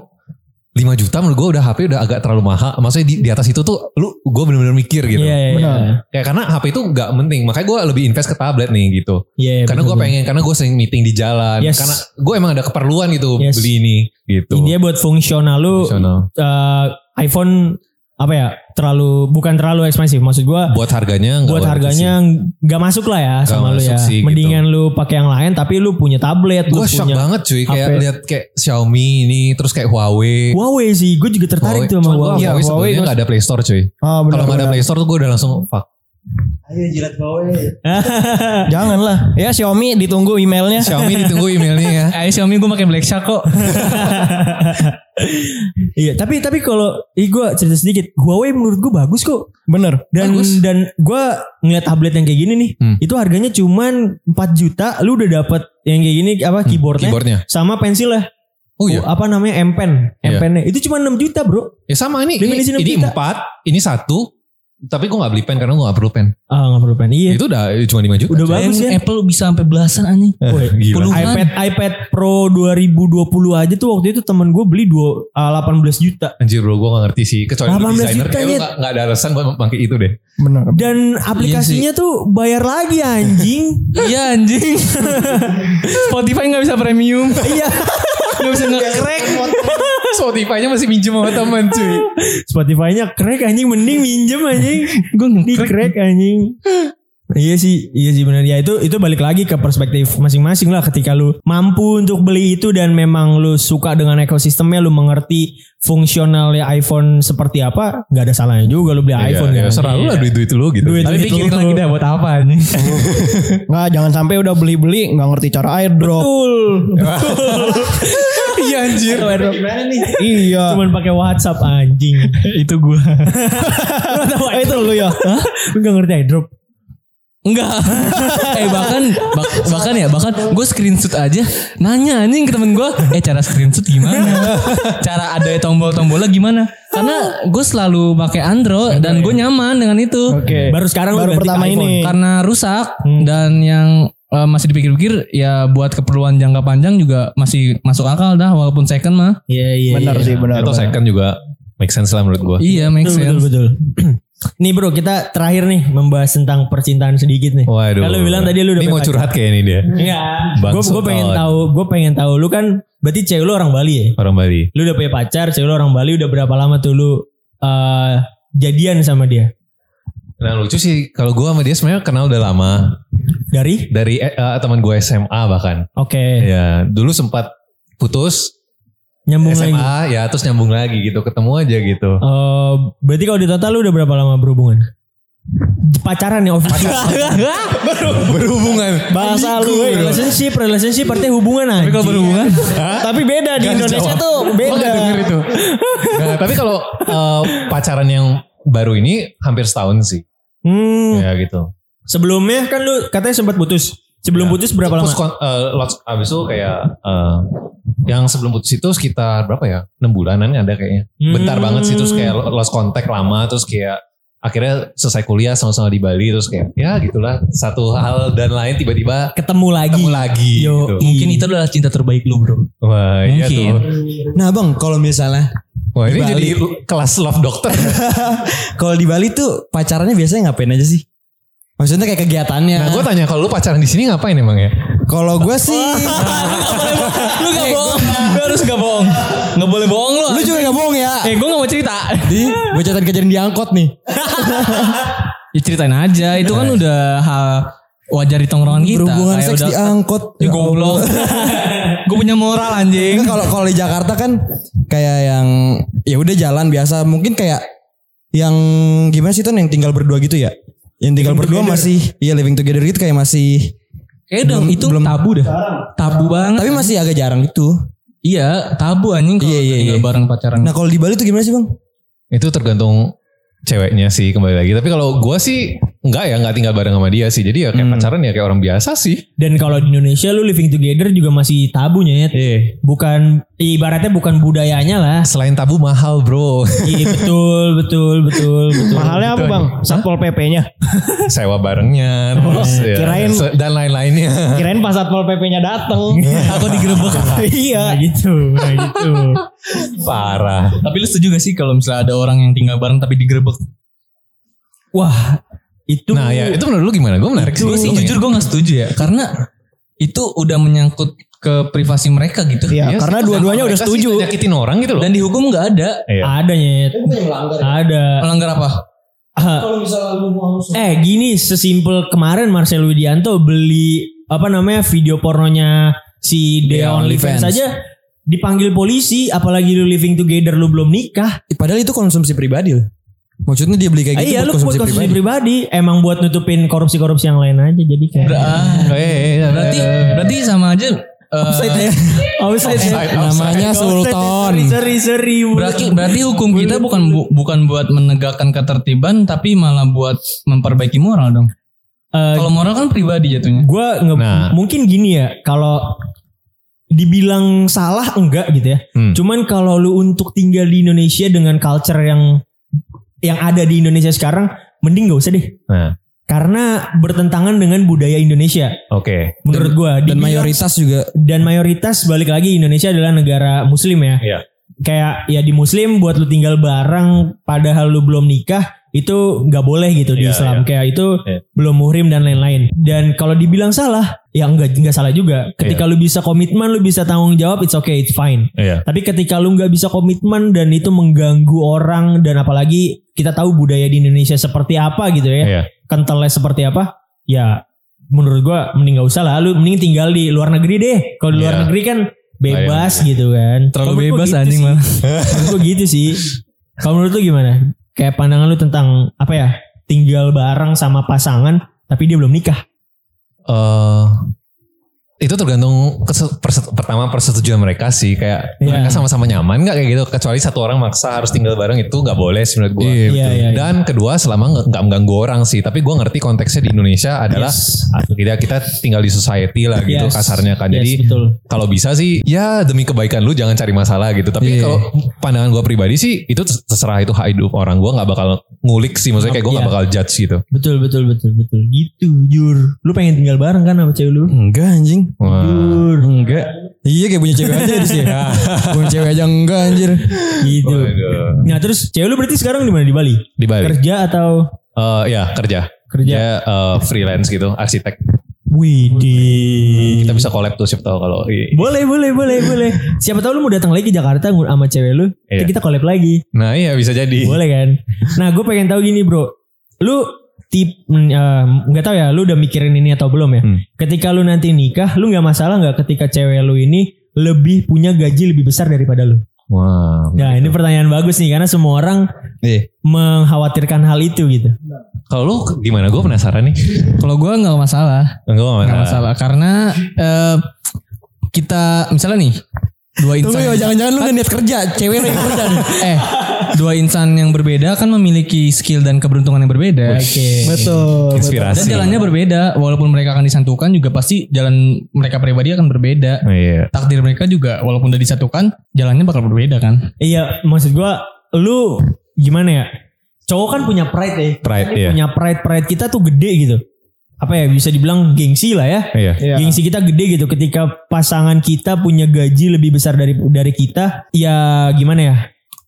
5 juta menurut gue udah HP udah agak terlalu mahal. Maksudnya di, di atas itu tuh lu gue bener-bener mikir gitu.
Iya, iya, iya.
Benar.
Ya karena HP itu nggak penting. Makanya gue lebih invest ke tablet nih gitu.
Iya, iya,
karena
betul,
gue pengen, karena gue sering meeting di jalan.
Yes.
Karena gue emang ada keperluan gitu
Yes.
beli ini
betul.
gitu.
Intinya buat fungsional lu
Fungsional.
eh, iPhone apa ya? Terlalu bukan terlalu ekspensif. Maksud gua
Buat harganya nggak worth it
buat
sih.
harganya nggak masuk lah ya sama lu
masuk
ya.
sih, gitu.
Mendingan lu pakai yang lain tapi lu punya tablet, lu
Gue shock
punya
banget cuy kayak
HP.
lihat kayak Xiaomi ini terus kayak Huawei.
Huawei sih, gue juga tertarik tuh sama
Cuman gua
Huawei.
Huawei sebelumnya nggak ada Play Store cuy.
Ah benar.
Kalau nggak ada
benar.
Play Store tuh gue udah langsung fuck.
Jangan lah. Ya Xiaomi ditunggu emailnya.
Xiaomi ditunggu emailnya ya.
Eh Xiaomi gue pakai Black Shark kok.
Iya, tapi tapi kalau ih gue cerita sedikit, Huawei menurut gue bagus kok.
Bener.
Dan
Bagus.
dan gue ngeliat tablet yang kayak gini nih,
Hmm.
itu harganya cuman 4 juta, lu udah dapet yang kayak gini apa keyboardnya,
Keyboardnya.
sama pensilnya,
Oh Hmm, iya.
apa namanya M Pen, M
Iya.
Pennya itu cuma 6 juta bro.
Ya sama ini.
Dengan
Ini,
isi enam
ini
juta.
empat. Ini satu. Tapi gue nggak beli pen karena gue nggak perlu pen.
Ah nggak perlu pen, iya.
Itu udah eh, cuma 5 juta.
Udah
cuy.
bagus ya.
Bayangin Apple bisa sampai belasan anjing.
Woi,
Gila.
Puluhan.
iPad iPad Pro 2020 aja tuh waktu itu temen gue beli dua, ah, 18 juta.
Anjir bro gue gak ngerti sih. Kecuali lu
18
desainer
juta, Iya,
kayak lu
Nyet.
gak, gak ada alasan buat pakai itu deh.
Bener.
Dan aplikasinya tuh bayar lagi anjing.
Iya anjing. Spotify nggak bisa premium.
Iya.
Nggak bisa nge-crack.
Spotify-nya masih minjem sama temen cuy.
Spotify-nya crack anjing mending minjem anjing. Gue di crack anjing. Iya sih, iya sih benar. Ya itu itu balik lagi ke perspektif masing-masing lah ketika lu mampu untuk beli itu dan memang lu suka dengan ekosistemnya, lu mengerti fungsionalnya iPhone seperti apa, nggak ada salahnya juga lu beli iPhone
ya,
kan.
serah lu lah duit-duit lu gitu.
Duit duit
Tapi pikirin
lu. Iya,
lagi dah buat apa anjing.
Nggak, jangan sampai udah beli-beli nggak ngerti cara airdrop.
Betul. Betul. Iya anjir. Gimana nih?
iya.
Cuman pakai WhatsApp anjing. itu gua.
itu lu ya.
Lu gak ngerti airdrop.
Enggak. eh bahkan bah- bahkan ya bahkan gue screenshot aja nanya anjing ke temen gue, eh cara screenshot gimana? cara ada tombol-tombolnya gimana? Karena gue selalu pakai Android dan
ya?
gue nyaman dengan itu.
Eh, Baru sekarang lu
Baru
ganti ke
pertama
iPhone. kan.
ini.
Karena rusak
Hmm.
dan yang eh, masih dipikir-pikir ya buat keperluan jangka panjang juga masih masuk akal dah walaupun second mah.
Iya iya.
Benar
iya.
sih benar.
Atau
benar.
second juga make sense lah menurut gue.
Iya make
Betul betul
sense.
betul. Nih bro kita terakhir nih membahas tentang percintaan sedikit nih.
Waduh.
Kalau bilang tadi lu udah
Ini mau
pacar.
curhat kayak ini dia.
Enggak.
Bang
Gue gue pengen
Sultan.
tahu, gue pengen tahu lu kan berarti cewek lu orang Bali ya?
Orang Bali.
Lu udah punya pacar, cewek lu orang Bali udah berapa lama tuh lu eh, jadian sama dia?
Nah lucu sih kalau gue sama dia sebenarnya kenal udah lama
Dari?
dari eh, eh, teman gue SMA bahkan.
Oke.
Ya dulu sempat putus
Nyambung
SMA
lagi.
ya terus nyambung lagi gitu ketemu aja gitu.
Eh, berarti kalau di total lu udah berapa lama berhubungan? Pacaran ya official.
Berhubungan.
Bahasa lu eh, relationship, relationship artinya hubungan aja. Tapi
kalau berhubungan?
Tapi beda di Indonesia tuh beda.
Oh, itu. Nah, tapi kalau eh, pacaran yang baru ini hampir setahun sih.
Hmm,
Ya gitu.
sebelumnya kan lu katanya sempat putus. Sebelum putus berapa lama?
Terus kon- eh, lots- abis itu kayak eh, yang sebelum putus itu sekitar berapa ya? 6 bulanan ada kayaknya. Bentar
Hmm.
banget sih terus kayak lo- lost contact lama terus kayak akhirnya selesai kuliah sama-sama di Bali terus kayak ya gitulah satu hal dan lain tiba-tiba
Ketemu lagi.
ketemu lagi
Yo, iya.
gitu.
Mungkin itu adalah cinta terbaik lu bro.
Wah, iya
Mungkin.
tuh.
Nah bang kalau misalnya
Wah,
Di
ini
Bali.
jadi lu- kelas love dokter.
kalau di Bali tuh pacarannya biasanya ngapain aja sih? Maksudnya kayak kegiatannya.
nah, gue tanya kalau lu pacaran di sini ngapain emang ya?
kalau gue Nah, sih,
Oh.
Lu gak bohong. Lu harus gak bohong. Gak boleh bohong lu.
lu juga nggak bohong ya.
Eh gue gak mau cerita.
Di, gue catat kejadian di angkot nih.
Ya ceritain aja, itu kan udah hal wajar di tongkrongan kita.
Berhubungan
Gitu. Kayak
seks
udah-
di ah. angkot.
Ya goblok. gue punya moral anjing.
Enggak, kalau kalau di Jakarta kan kayak yang ya udah jalan biasa mungkin kayak yang gimana sih Ton yang tinggal berdua gitu ya yang tinggal berdua masih iya living together gitu kayak masih
Kayak udah itu tabu dah. Tabu banget.
tapi masih agak jarang gitu
iya, tabu anjing kalau
Iya, iya,
tinggal
iya.
bareng pacaran.
nah kalau di Bali tuh gimana sih bang
Itu tergantung ceweknya sih kembali lagi. Tapi kalau gue sih enggak ya, enggak tinggal bareng sama dia sih. Jadi ya kayak pacaran ya kayak orang biasa sih.
Dan kalau di Indonesia lu living together juga masih tabunya ya.
Iya.
Bukan ibaratnya bukan budayanya lah.
Selain tabu mahal bro.
Iya betul betul betul betul.
Mahalnya apa bang? Satpol PP-nya.
Sewa barengnya. terus ya,
kirain-
se- dan lain-lainnya.
Kirain pas satpol PP-nya dateng. Iya,
Aku digerebek. iya. gitu, nah gitu.
Parah.
Tapi lu setuju gak sih kalau misalnya ada orang yang tinggal bareng tapi digerebek?
Wah, itu
Nah ya itu menurut lu gimana? Gue menarik sih. Iya,
Gue sih
Lu pengen-
jujur gue gak setuju ya, karena itu udah menyangkut ke privasi mereka gitu.
Iya, karena
sih,
dua-duanya udah
mereka sih
setuju.
Nyakitin orang gitu loh.
Dan dihukum gak ada.
Iya.
ada nyet. Ada.
Melanggar apa?
Eh gini sesimpel kemarin Marcel Widianto beli apa namanya video pornonya si Dea OnlyFans saja dipanggil polisi apalagi lu living together lu belum nikah
Eh, padahal itu konsumsi pribadi loh maksudnya dia beli kayak
Eh,
Ya Ah,
gitu
iya
buat
lu buat konsumsi
pribadi
pribadi. emang buat nutupin korupsi-korupsi yang lain aja jadi kayak
Eh, eh, eh,
Ah, Berarti berarti sama aja. eh,
ya. Offside ya?
namanya Sultan
Sorry, sorry, sorry.
Berarti berarti hukum kita bukan bu- bukan buat menegakkan ketertiban tapi malah buat memperbaiki moral dong.
Eh,
Kalau moral kan pribadi jatuhnya.
gue nge-
Nah.
mungkin gini ya kalau dibilang salah enggak gitu ya.
Hmm.
Cuman kalau lu untuk tinggal di Indonesia dengan culture yang yang ada di Indonesia sekarang, mending gak usah deh.
Nah,
Karena bertentangan dengan budaya Indonesia
oke.
menurut gue.
Iya.
dan mayoritas juga
dan mayoritas balik lagi Indonesia adalah negara Muslim ya.
Iya.
Kayak ya di Muslim buat lu tinggal bareng padahal lu belum nikah itu nggak boleh gitu di
Iya,
Islam
iya.
kayak itu
Iya.
belum muhrim dan lain-lain. Dan kalau dibilang salah ya nggak nggak salah juga. Ketika lu bisa komitmen lu bisa tanggung jawab it's okay it's fine.
Iya.
Tapi ketika lu nggak bisa komitmen dan itu mengganggu orang dan apalagi kita tahu budaya di Indonesia seperti apa gitu ya
Iya.
kentalnya seperti apa ya menurut gua mending gak usah lah lu mending tinggal di luar negeri deh kalau di luar
Iya. Oh,
negeri kan bebas gitu kan
Terlalu
Kalau menurut gua
bebas
gitu
anjing
sih.
malah.
menurut gua gitu sih kalau menurut lu gimana kayak pandangan lu tentang apa ya tinggal bareng sama pasangan tapi dia belum nikah
Eh, itu tergantung keset- perset- pertama persetujuan mereka sih kayak
Iya.
mereka sama-sama nyaman nggak kayak gitu kecuali satu orang maksa harus tinggal bareng itu nggak boleh sih menurut gue
Iya, betul. iya, iya.
dan kedua selama nggak- nggak mengganggu orang sih tapi gue ngerti konteksnya di Indonesia adalah atau tidak kita tinggal di society lah gitu
Yes.
kasarnya kan
Yes,
jadi
betul.
kalau bisa sih ya demi kebaikan lu jangan cari masalah gitu tapi kalau pandangan gue pribadi sih itu terserah itu hak hidup orang gue nggak bakal ngulik sih maksudnya kayak gue nggak
Iya.
bakal judge gitu
Betul betul betul betul. Gitu Jur. Lu pengen tinggal bareng kan sama cewek lu?
Enggak anjing.
Wah.
Jur.
Enggak. Iya kayak punya cewek aja di sini.
Iya.
punya cewek aja enggak anjir.
Gitu.
Waduh.
Nah terus cewek lu berarti sekarang di mana di Bali?
di Bali
Kerja atau
Eh, ya kerja
Kerja.
Dia, eh, freelance gitu arsitek
Widih.
kita bisa collab tuh siapa tahu kalau i-
Boleh boleh boleh boleh. Siapa tahu lu mau datang lagi ke Jakarta ngur- sama cewek lu.
Iya.
Kita collab lagi.
nah iya bisa jadi
Boleh kan? Nah gue pengen tahu gini bro. Lu tip mm, eh, nggak tahu ya lu udah mikirin ini atau belum ya
Hmm.
ketika lu nanti nikah lu nggak masalah nggak ketika cewek lu ini lebih punya gaji lebih besar daripada
Oh,
lu
wah
nah ini pertanyaan bagus nih karena semua orang
Nih.
Iya.
mengkhawatirkan hal itu gitu
kalau lu gimana gue penasaran nih
Kalau gue nggak masalah,
gue gak
nggak
masalah
masalah karena eh, kita misalnya nih dua
Tunggu
insan
ya, jangan-jangan lu udah niat kerja, cewek lu yang kerja. nih.
eh dua insan yang berbeda kan memiliki skill dan keberuntungan yang berbeda.
Iya.
betul
Dan
inspirasi
jalannya berbeda, walaupun mereka akan disatukan juga pasti jalan mereka pribadi akan berbeda.
iya
Takdir mereka juga walaupun udah disatukan, jalannya bakal berbeda kan.
Iya, maksud gua lu gimana ya? Cowok kan punya pride ya.
pride
Kita
iya
Punya pride pride kita tuh gede gitu. Apa ya bisa dibilang gengsi lah ya.
iya
Gengsi kita gede gitu ketika pasangan kita punya gaji lebih besar dari dari kita. Ya gimana ya?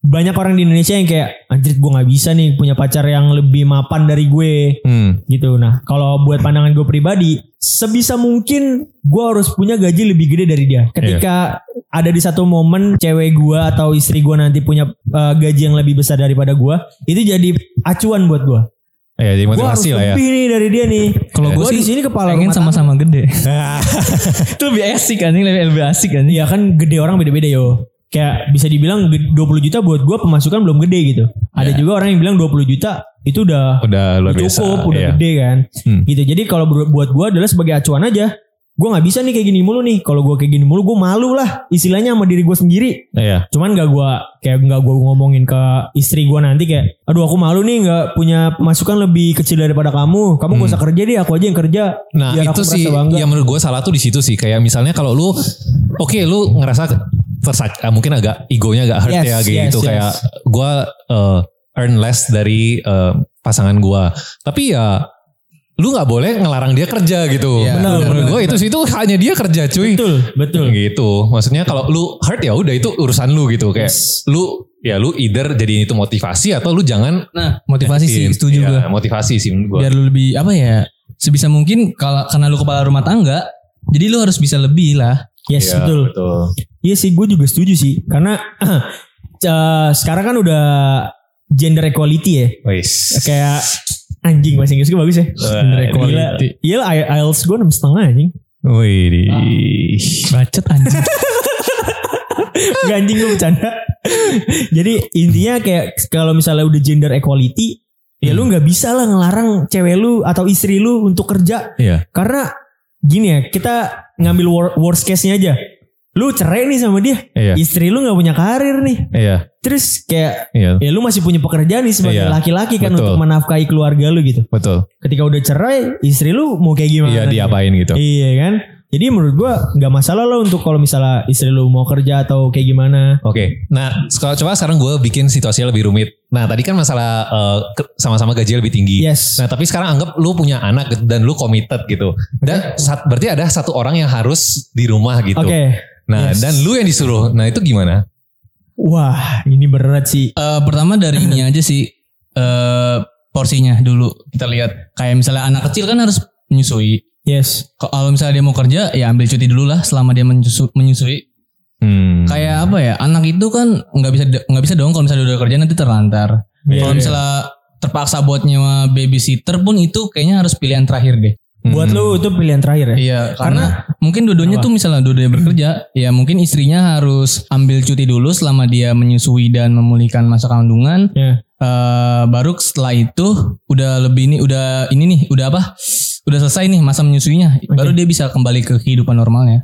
Banyak orang di Indonesia yang kayak anjir gua nggak bisa nih punya pacar yang lebih mapan dari gue
Hmm.
gitu. Nah, kalau buat pandangan gue pribadi, sebisa mungkin gue harus punya gaji lebih gede dari dia. Ketika
Iya.
ada di satu momen cewek gue atau istri gue nanti punya uh, gaji yang lebih besar daripada gue, itu jadi acuan buat gue.
Iya, jadi
Gue harus
motivasi lah ya
lebih nih dari dia nih.
Kalau
Gue
gue
di
sih
sini kepala
pengen
rumah tangga.
sama-sama gede. Itu lebih asik anjing, lebih, lebih asik anjing.
Iya kan gede orang beda-beda yo. Kayak bisa dibilang ge- 20 juta buat gue pemasukan belum gede gitu. Ada
Iya.
juga orang yang bilang 20 juta itu udah
udah luar biasa
cukup udah
iya.
gede kan
Hmm.
gitu jadi kalau ber- buat gue adalah sebagai acuan aja gue nggak bisa nih kayak gini mulu nih kalau gue kayak gini mulu gue malu lah istilahnya sama diri gue sendiri
iya
cuman gak gue kayak gak gue ngomongin ke istri gue nanti kayak aduh aku malu nih nggak punya masukan lebih kecil daripada kamu kamu gak usah kerja deh aku aja yang kerja
Nah
Biar
itu
aku merasa
sih
bangga.
yang menurut gue salah tuh di situ sih. Kayak misalnya kalau lu, oke lu ngerasa tersak, ah, mungkin agak egonya agak hurt
Yes,
ya kayak
yes,
gitu.
yes.
Kayak gue eh, earn less dari eh, pasangan gue. Tapi ya lu nggak boleh ngelarang dia kerja gitu.
Iya.
Benar,
menurut gue itu situ hanya dia kerja cuy.
betul betul
Gitu. Maksudnya kalau lu hurt ya udah itu urusan lu gitu. Kayak lu ya lu either jadi itu motivasi atau lu jangan
Nah, motivasi sih setuju
Iya,
gue.
Motivasi sih menurut gue.
Biar lu lebih apa ya? Sebisa mungkin kalau karena lu kepala rumah tangga, jadi lu harus bisa lebih lah.
yes
Iya,
betul
betul.
Iya sih, gue juga setuju sih. Karena eh, sekarang kan udah gender equality ya.
Wis.
Kayak anjing bahasa Inggris gue bagus ya. Gender equality. Iya lah, I- IELTS gue enam setengah anjing.
Wih.
Bacet anjing.
Gak anjing gue bercanda. Jadi intinya kayak kalau misalnya udah gender equality, ya
Hmm.
lu nggak bisa lah ngelarang cewek lu atau istri lu untuk kerja.
Iya.
Karena gini ya, kita ngambil wor- worst case-nya aja. Lu cerai nih sama dia.
Iya.
Istri lu nggak punya karir nih.
Iya.
Terus kayak
Iya.
ya lu masih punya pekerjaan nih sebagai
Iya.
laki-laki kan
Betul.
untuk menafkahi keluarga lu gitu.
Betul.
Ketika udah cerai, istri lu mau kayak gimana?
Iya diapain gitu.
Iya kan? Jadi menurut gua nggak masalah lah untuk kalau misalnya istri lu mau kerja atau kayak gimana.
Oke. Nah, sekarang coba sekarang gue bikin situasinya lebih rumit. Nah, tadi kan masalah eh, ke- sama-sama gaji lebih tinggi.
Yes.
Nah, tapi sekarang anggap lu punya anak gitu, dan lu committed gitu. Dan saat, berarti ada satu orang yang harus di rumah gitu.
Oke.
Nah,
Yes.
dan lu yang disuruh. Nah, itu gimana?
Wah, ini berat sih.
Eh, pertama dari ini aja sih eh porsinya dulu kita lihat kayak misalnya anak kecil kan harus menyusui
Yes.
kalau misalnya dia mau kerja ya ambil cuti dulu lah selama dia menyusu- menyusui
Hmm.
kayak apa ya anak itu kan nggak bisa nggak bisa dong kalau misalnya udah kerja nanti terlantar
Iya,
kalau
iya.
misalnya terpaksa buat nyewa babysitter pun itu kayaknya harus pilihan terakhir deh
Buat
Hmm.
lu itu pilihan terakhir ya.
Iya, karena mungkin dua-duanya tuh misalnya dua-duanya bekerja, ya mungkin istrinya harus ambil cuti dulu selama dia menyusui dan memulihkan masa kandungan.
Iya.
eh baru setelah itu udah lebih ini udah ini nih udah apa udah selesai nih masa menyusuinya baru dia bisa kembali ke kehidupan normalnya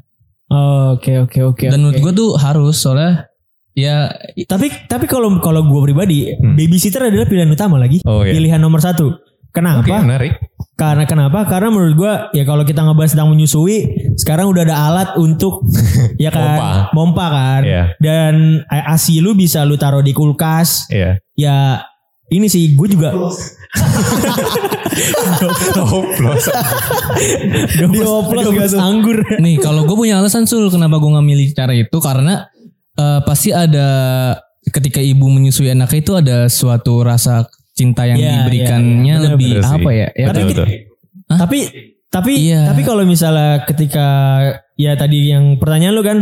Oh, Oke oke oke.
dan menurut
oke.
gue tuh harus soalnya ya
tapi tapi kalau kalau gue pribadi
Hmm.
babysitter adalah pilihan utama lagi.
Oh, iya.
Pilihan nomor satu. Kenapa?
Oke, menarik.
Karena kenapa? Karena menurut gua ya kalau kita ngebahas tentang menyusui, sekarang udah ada alat untuk ya kan
Pompa.
mompa kan.
Iya.
Dan a- asi lu bisa lu taruh di kulkas.
Iya.
Ya ini sih gue juga
Oplos.
dioplos gak anggur.
Nih kalau gue punya alasan sul kenapa gue nggak milih cara itu karena eh, pasti ada ketika ibu menyusui anaknya itu ada suatu rasa cinta yang
Iya, iya,
diberikannya
iya.
lebih
Bener sih.
apa ya? ya
Betul,
kayak-
betul.
Hah?
Tapi tapi
Iya.
tapi kalau misalnya ketika ya tadi yang pertanyaan lu kan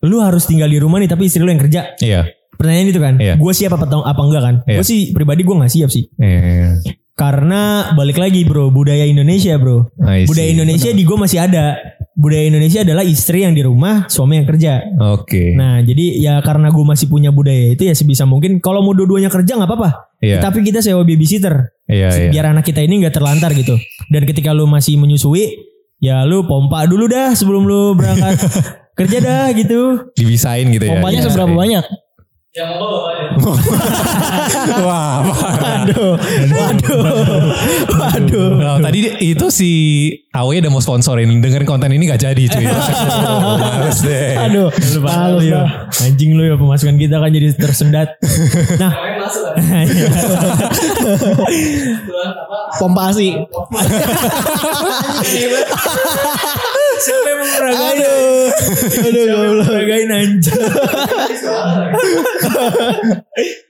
lu harus tinggal di rumah nih tapi istri lu yang kerja.
Iya.
Pertanyaan itu kan,
Iya.
gue siap apa, tau- apa enggak kan?
Iya.
Gue sih pribadi gue nggak siap sih.
Iya.
Karena balik lagi bro, budaya Indonesia bro.
I see.
Budaya Indonesia di gue masih ada. Budaya Indonesia adalah istri yang di rumah, suami yang kerja.
Iya. Oke.
Nah jadi ya karena gue masih punya budaya itu ya sebisa mungkin. Kalau mau dua-duanya kerja nggak apa-apa.
Iya.
Tapi kita sewa babysitter.
Iya, iya.
Biar anak kita ini nggak terlantar gitu. Dan ketika lu masih menyusui, ya lu pompa dulu dah sebelum lu berangkat kerja dah gitu.
Dibisain gitu ya.
Iya,
Pompanya seberapa banyak?
Wah, parah.
Waduh, waduh, waduh.
Nah, tadi itu si Awe udah mau sponsorin dengerin konten ini gak jadi cuy. Oh, Males deh.
Aduh, malu Iya, ya. Anjing lu ya pemasukan kita kan jadi tersendat. Iya. Nah,
Pompa asi.
siapa yang meragain? Aduh, siapa yang meragain anjing?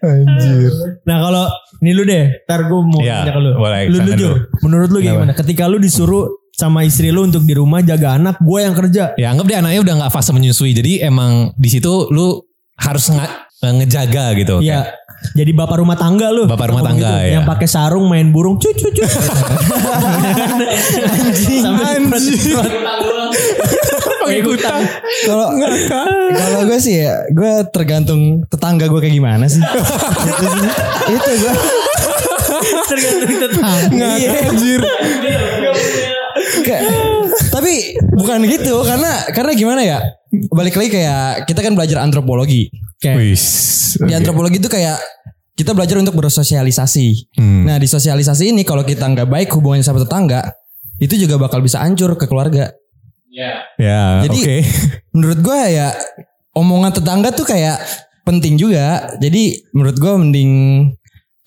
Anjir.
Nah kalau ini lu deh, ntar gue mau
Iya,
tanya ke lu.
boleh,
Lu
sana
lu, Jur,
dulu.
menurut lu gimana? Ketika lu disuruh sama istri lu untuk di rumah jaga anak, gue yang kerja.
Ya anggap deh anaknya udah nggak fase menyusui. Jadi emang di situ lu harus nge- ngejaga gitu.
Iya. Jadi bapak rumah tangga lu.
Bapak rumah
Apa
tangga, ya.
Yang pakai sarung main burung, cucu cucu. anjing, anjing.
Pakai kutang.
Kalau kalau gue sih ya, gue tergantung tetangga gue kayak gimana sih. itu sih. Itu gue.
Tergantung tetangga. Iya.
Nggak anjir. Kayak- tapi bukan gitu karena karena gimana ya? Balik lagi kayak kita kan belajar antropologi. Kayak
Wis.
Iya.
di antropologi itu kayak kita belajar untuk bersosialisasi.
Hmm.
Nah, di sosialisasi ini kalau kita nggak baik hubungannya sama tetangga, itu juga bakal bisa hancur ke keluarga.
Ya,
Jadi-
oke.
menurut gue ya omongan tetangga tuh kayak penting juga. Jadi menurut gue mending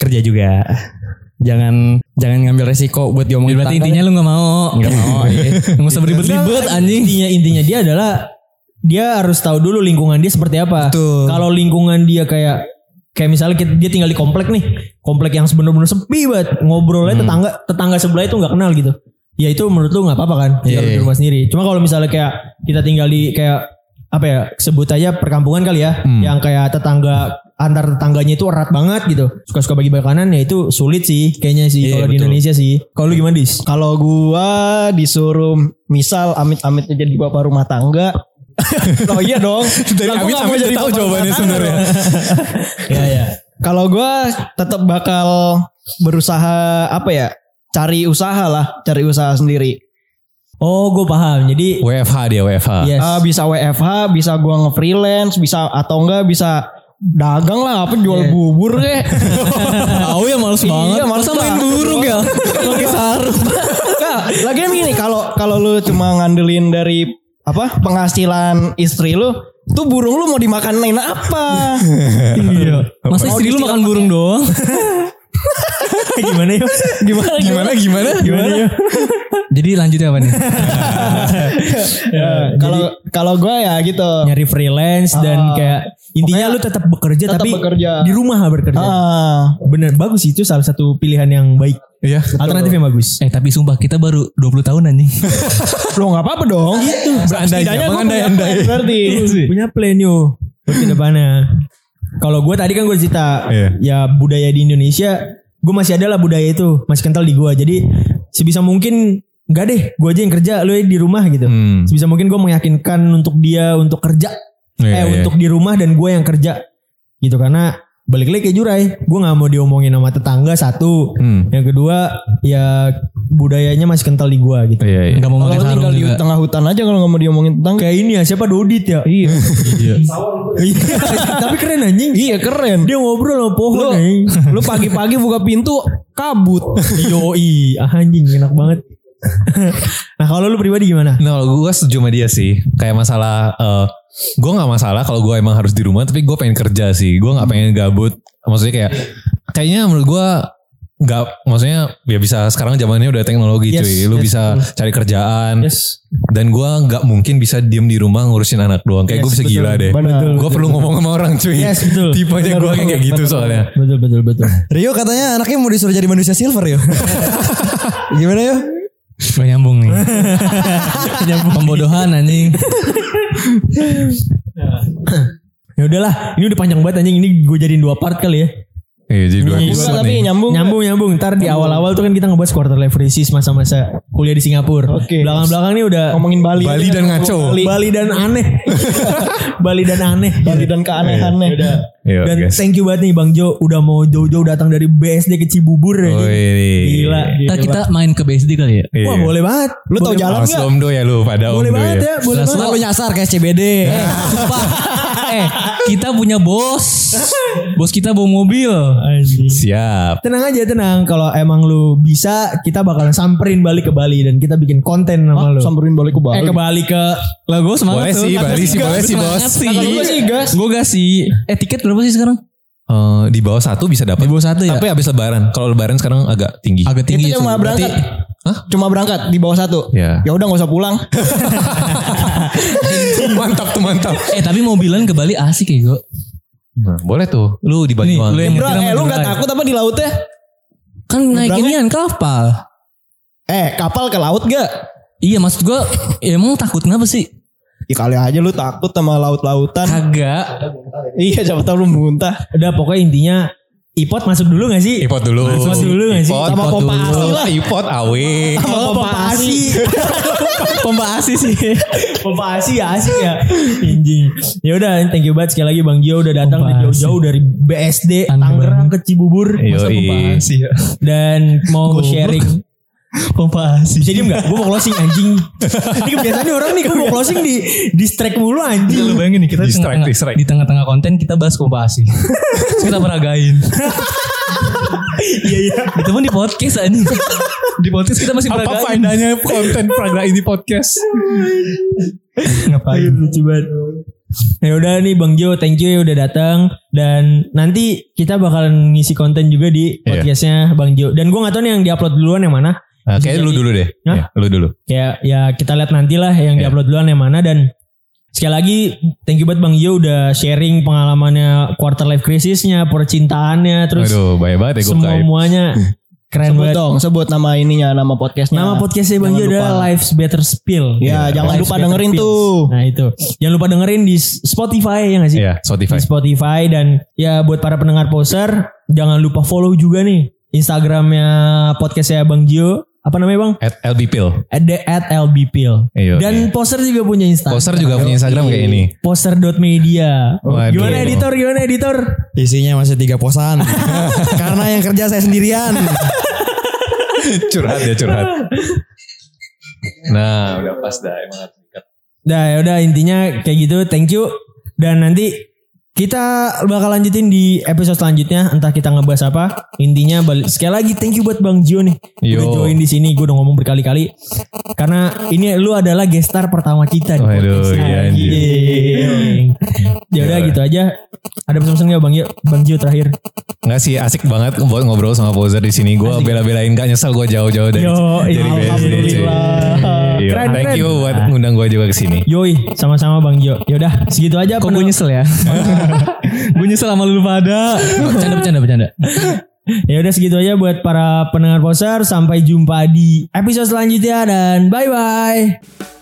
kerja juga. Jangan jangan ngambil resiko buat diomongin
Ya, Berarti
tetangga.
intinya lu nggak mau.
Nggak mau. iya.
Nggak
Gitu
usah beribet-ribet
kan.
anjing.
Intinya intinya dia adalah dia harus tahu dulu lingkungan dia seperti apa.
Betul.
Kalau lingkungan dia kayak kayak misalnya kita- dia tinggal di komplek nih, komplek yang sebenar-benar sepi banget, ngobrolnya tetangga tetangga sebelah itu nggak kenal gitu. Ya itu menurut lu nggak apa-apa kan tinggal
Iya.
di rumah sendiri. Cuma kalau misalnya kayak kita tinggal di kayak apa ya sebut aja perkampungan kali ya, yang kayak tetangga antar tetangganya itu erat banget gitu. Suka-suka bagi makanan ya itu sulit sih kayaknya sih kalau di Indonesia sih. Iya, Kalau lu gimana dis?
Kalau gua disuruh misal amit-amit jadi bapak rumah tangga. oh iya dong.
Dari
Lah, gua
Amit
nggak mau
Amit jadi tahu
bapak
jawabannya
rumah tangga
sebenarnya.
dong.
ya ya.
Kalau gua tetap bakal berusaha apa ya? Cari usaha lah, cari usaha sendiri.
Oh gue paham. Jadi
WFH dia WFH.
Yes.
Ah, bisa WFH, bisa gua nge-freelance, bisa atau enggak bisa dagang lah apa jual bubur ya. kek.
Tahu ya males banget.
Iya, males
Masa main
banget.
burung ya. Pakai sarung.
Lagian gini kalau kalau lu cuma ngandelin dari apa penghasilan istri lu, tuh burung lu mau dimakanin apa?
Masa istri lu
gitu,
makan burung
iya.
doang?
gimana ya?
gimana gimana?
gimana?
Gimana ya?
Jadi lanjutnya apa nih?
Ya, Kalau kalau gua ya gitu. Ah,
Nyari freelance
Ah.
dan kayak intinya lu tetap bekerja
tetap
Ya, tapi
bekerja.
di rumah bekerja.
Ah,
Bener bagus itu salah satu pilihan yang baik.
Iya.
Alternatif yang bagus.
Eh tapi sumpah kita baru 20 tahun anjing.
lo nggak apa-apa dong.
Iya,
Berandainya,
gua punya
mengandai-andai.
plan berarti.
Punya plan yo buat kedepannya. Kalau gue tadi kan gue cerita
Iya.
ya budaya di Indonesia gue masih ada lah budaya itu masih kental di gue jadi sebisa mungkin nggak deh gue aja yang kerja lu aja di rumah gitu
Hmm.
sebisa mungkin gue meyakinkan untuk dia untuk kerja
Iya,
eh
iya.
untuk di rumah dan gue yang kerja gitu karena balik lagi ke Jurai gue nggak mau diomongin sama tetangga satu
Hmm.
yang kedua ya budayanya masih kental di gue gitu
Iya, iya.
Gak
Kalau
mau pakai sarung
tinggal di
juga.
tengah hutan aja kalau nggak mau diomongin tentang
kayak ini ya siapa Dodit ya
Iya.
Iya, tapi keren anjing
iya keren.
dia ngobrol sama pohon
Lu,
anjing
lu pagi-pagi buka pintu kabut.
yoi ah, anjing enak banget nah kalau lu pribadi gimana
Nah kalau gue setuju sama dia sih Kayak masalah eh, Gue gak masalah kalau gue emang harus di rumah Tapi gue pengen kerja sih Gue gak pengen gabut Maksudnya kayak Kayaknya menurut gue Gak Maksudnya Ya bisa sekarang zamannya udah teknologi
Yes,
cuy Lu
yes,
bisa cari kerjaan
yes
Dan gue gak mungkin bisa diem di rumah Ngurusin anak doang Kayak gue
Yes,
bisa
betul.
gila deh
Benar.
Gue perlu ngomong sama orang cuy
Yes, betul.
Tipenya gue kayak gitu soalnya
betul betul betul
Rio katanya anaknya mau disuruh jadi manusia silver yo. Gimana yo?
Gak nyambung nih. Pembodohan anjing.
ya udahlah ini udah panjang banget anjing ini gue jadiin dua part kali ya
Iya jadi dua
Bisa
episode
tapi
nih
nyambung.
nyambung nyambung ntar di awal awal tuh kan kita ngebahas quarter life crisis masa-masa kuliah di Singapura
Oke.
belakang belakang nih udah
Ngomongin Bali.
Bali dan ngaco
Bali. Bali dan aneh Bali dan aneh
Bali dan keanehannya.
Iya
dan
guys
thank you banget nih Bang Jo udah mau jauh-jauh datang dari BSD ke Cibubur ya.
Oh, ini.
Gila.
Iya,
Ntar kita main ke BSD kali ya.
Iya.
Wah boleh banget.
Lu tahu jalan
Awas
nggak?
Omdo ya lu pada
Boleh
Omdo
banget ya, boleh
Jelas
banget.
Selalu nyasar kayak CBD.
Sumpah. eh, kita punya bos. Bos kita bawa mobil.
Siap.
Tenang aja tenang kalau emang lu bisa kita bakalan samperin balik ke Bali dan kita bikin konten sama lu.
Samperin balik ke Bali.
Eh ke Bali ke
Lah gue
Boleh
semangat tuh.
sih, Bali sih, boleh sih, bos. Iya.
Kata gua sih, gas.
Gue gak sih. Eh tiket berapa sih sekarang?
Eh, di bawah satu bisa dapat.
Di bawah satu ya?
Tapi habis lebaran. Kalau lebaran sekarang agak tinggi.
Agak tinggi.
Itu cuma
sih.
berangkat.
Hah?
Cuma berangkat di bawah satu.
Iya.
Ya udah nggak usah pulang.
mantap tuh mantap.
Eh tapi mobilan ke Bali asik ya gue.
Nah, boleh tuh. Lu di
Nih,
Banyuwangi.
lu yang
Bro,
nyetir sama
eh lu
Jurai.
nggak takut apa di lautnya?
Kan naik
Nyebrangnya?
inian kapal.
Eh kapal ke laut gak?
Iya maksud gue emang takut kenapa sih?
Ya kali aja lu takut sama laut-lautan.
Kagak.
iya siapa tau lu muntah.
udah pokoknya intinya ipot masuk dulu gak sih?
Nah, Ipot dulu.
Masuk dulu nggak sih?
Ipot,
Sama
ipot
pompa
dulu.
asi lah.
Ipot awe.
Sama pompa asi.
Pompa asi sih. Pompa asi ya asik ya. Anjing. Ya udah thank you banget sekali lagi Bang Jo udah datang
Pompa
jauh-jauh dari BSD
Aneh
Tangerang ke Cibubur. Masa
Yoi.
pompa asi ya? Dan mau sharing pompa asi. Bisa diem gak? Gue mau closing anjing. Ini kebiasaan nih orang nih gue mau closing di distract mulu anjing.
Lu bayangin nih kita
Distract,
tengah-tengah-
distract.
di tengah-tengah konten kita bahas kompasi. Terus kita peragain.
Iya iya.
Itu pun di podcast anjing. di podcast kita masih
Apa
peragain.
faedahnya konten Praga ini podcast?
Iya,
Ngapain lucu banget. Ya udah nih Bang Jo, thank you ya udah datang dan nanti kita bakalan ngisi konten juga di
Iya.
podcastnya Bang Jo. Dan gua nggak tahu nih yang diupload duluan yang mana.
Nah, kayaknya lu dulu deh.
Hah?
Ya, lu dulu.
Ya ya kita lihat nantilah yang
Iya.
diupload duluan yang mana dan sekali lagi thank you banget Bang Jo udah sharing pengalamannya quarter life crisisnya, percintaannya, terus
Aduh, bahaya banget ya gue
semua
kayak.
semuanya keren
Sebut
banget.
dong sebut nama ininya nama podcastnya.
Nama Iya, podcastnya Bang Jo
Jangan
adalah
lupa.
Life's Better Spill.
Ya jangan
Life's
lupa
Better
dengerin
Pills.
tuh.
Nah itu. Jangan lupa dengerin di Spotify ya gak sih?
Iya,
di
Spotify.
Spotify dan ya buat para pendengar poser jangan lupa follow juga nih Instagramnya podcastnya Bang Gio apa namanya Bang?
At LB Pill.
At, the- at LBPil
Iya,
dan poser juga punya Instagram
Poster juga punya Instagram kayak ini.
poster.media
Waduh.
gimana editor gimana editor
Isinya masih tiga posan. Karena yang kerja saya sendirian.
curhat ya curhat. Nah, udah pas dah emang.
nah ya udah intinya kayak gitu thank you dan nanti kita bakal lanjutin di episode selanjutnya entah kita ngebahas apa intinya balik sekali lagi thank you buat Bang Gio nih udah
Yo.
join di sini gue udah ngomong berkali-kali karena ini lu adalah guest star pertama kita di
Waduh,
podcast.
iya, anjir. Iya.
Anjing. ya udah gitu aja ada pesan-pesan nggak bang Gio bang Gio terakhir
Enggak sih asik banget buat ngobrol sama Poser di sini. Gue bela-belain gak nyesel gue jauh-jauh dari
Yo,
dari BSD.
iya,
cuy.
alhamdulillah.
Yo,
Keren,
Iya. Thank
keren.
you buat ngundang gue juga ke sini.
yoi sama-sama bang Gio ya udah segitu aja
Kok gue
penel-
nyesel ya? gue nyesel sama lu pada. Bercanda, bercanda, bercanda.
ya udah segitu aja buat para pendengar poser sampai jumpa di episode selanjutnya dan bye bye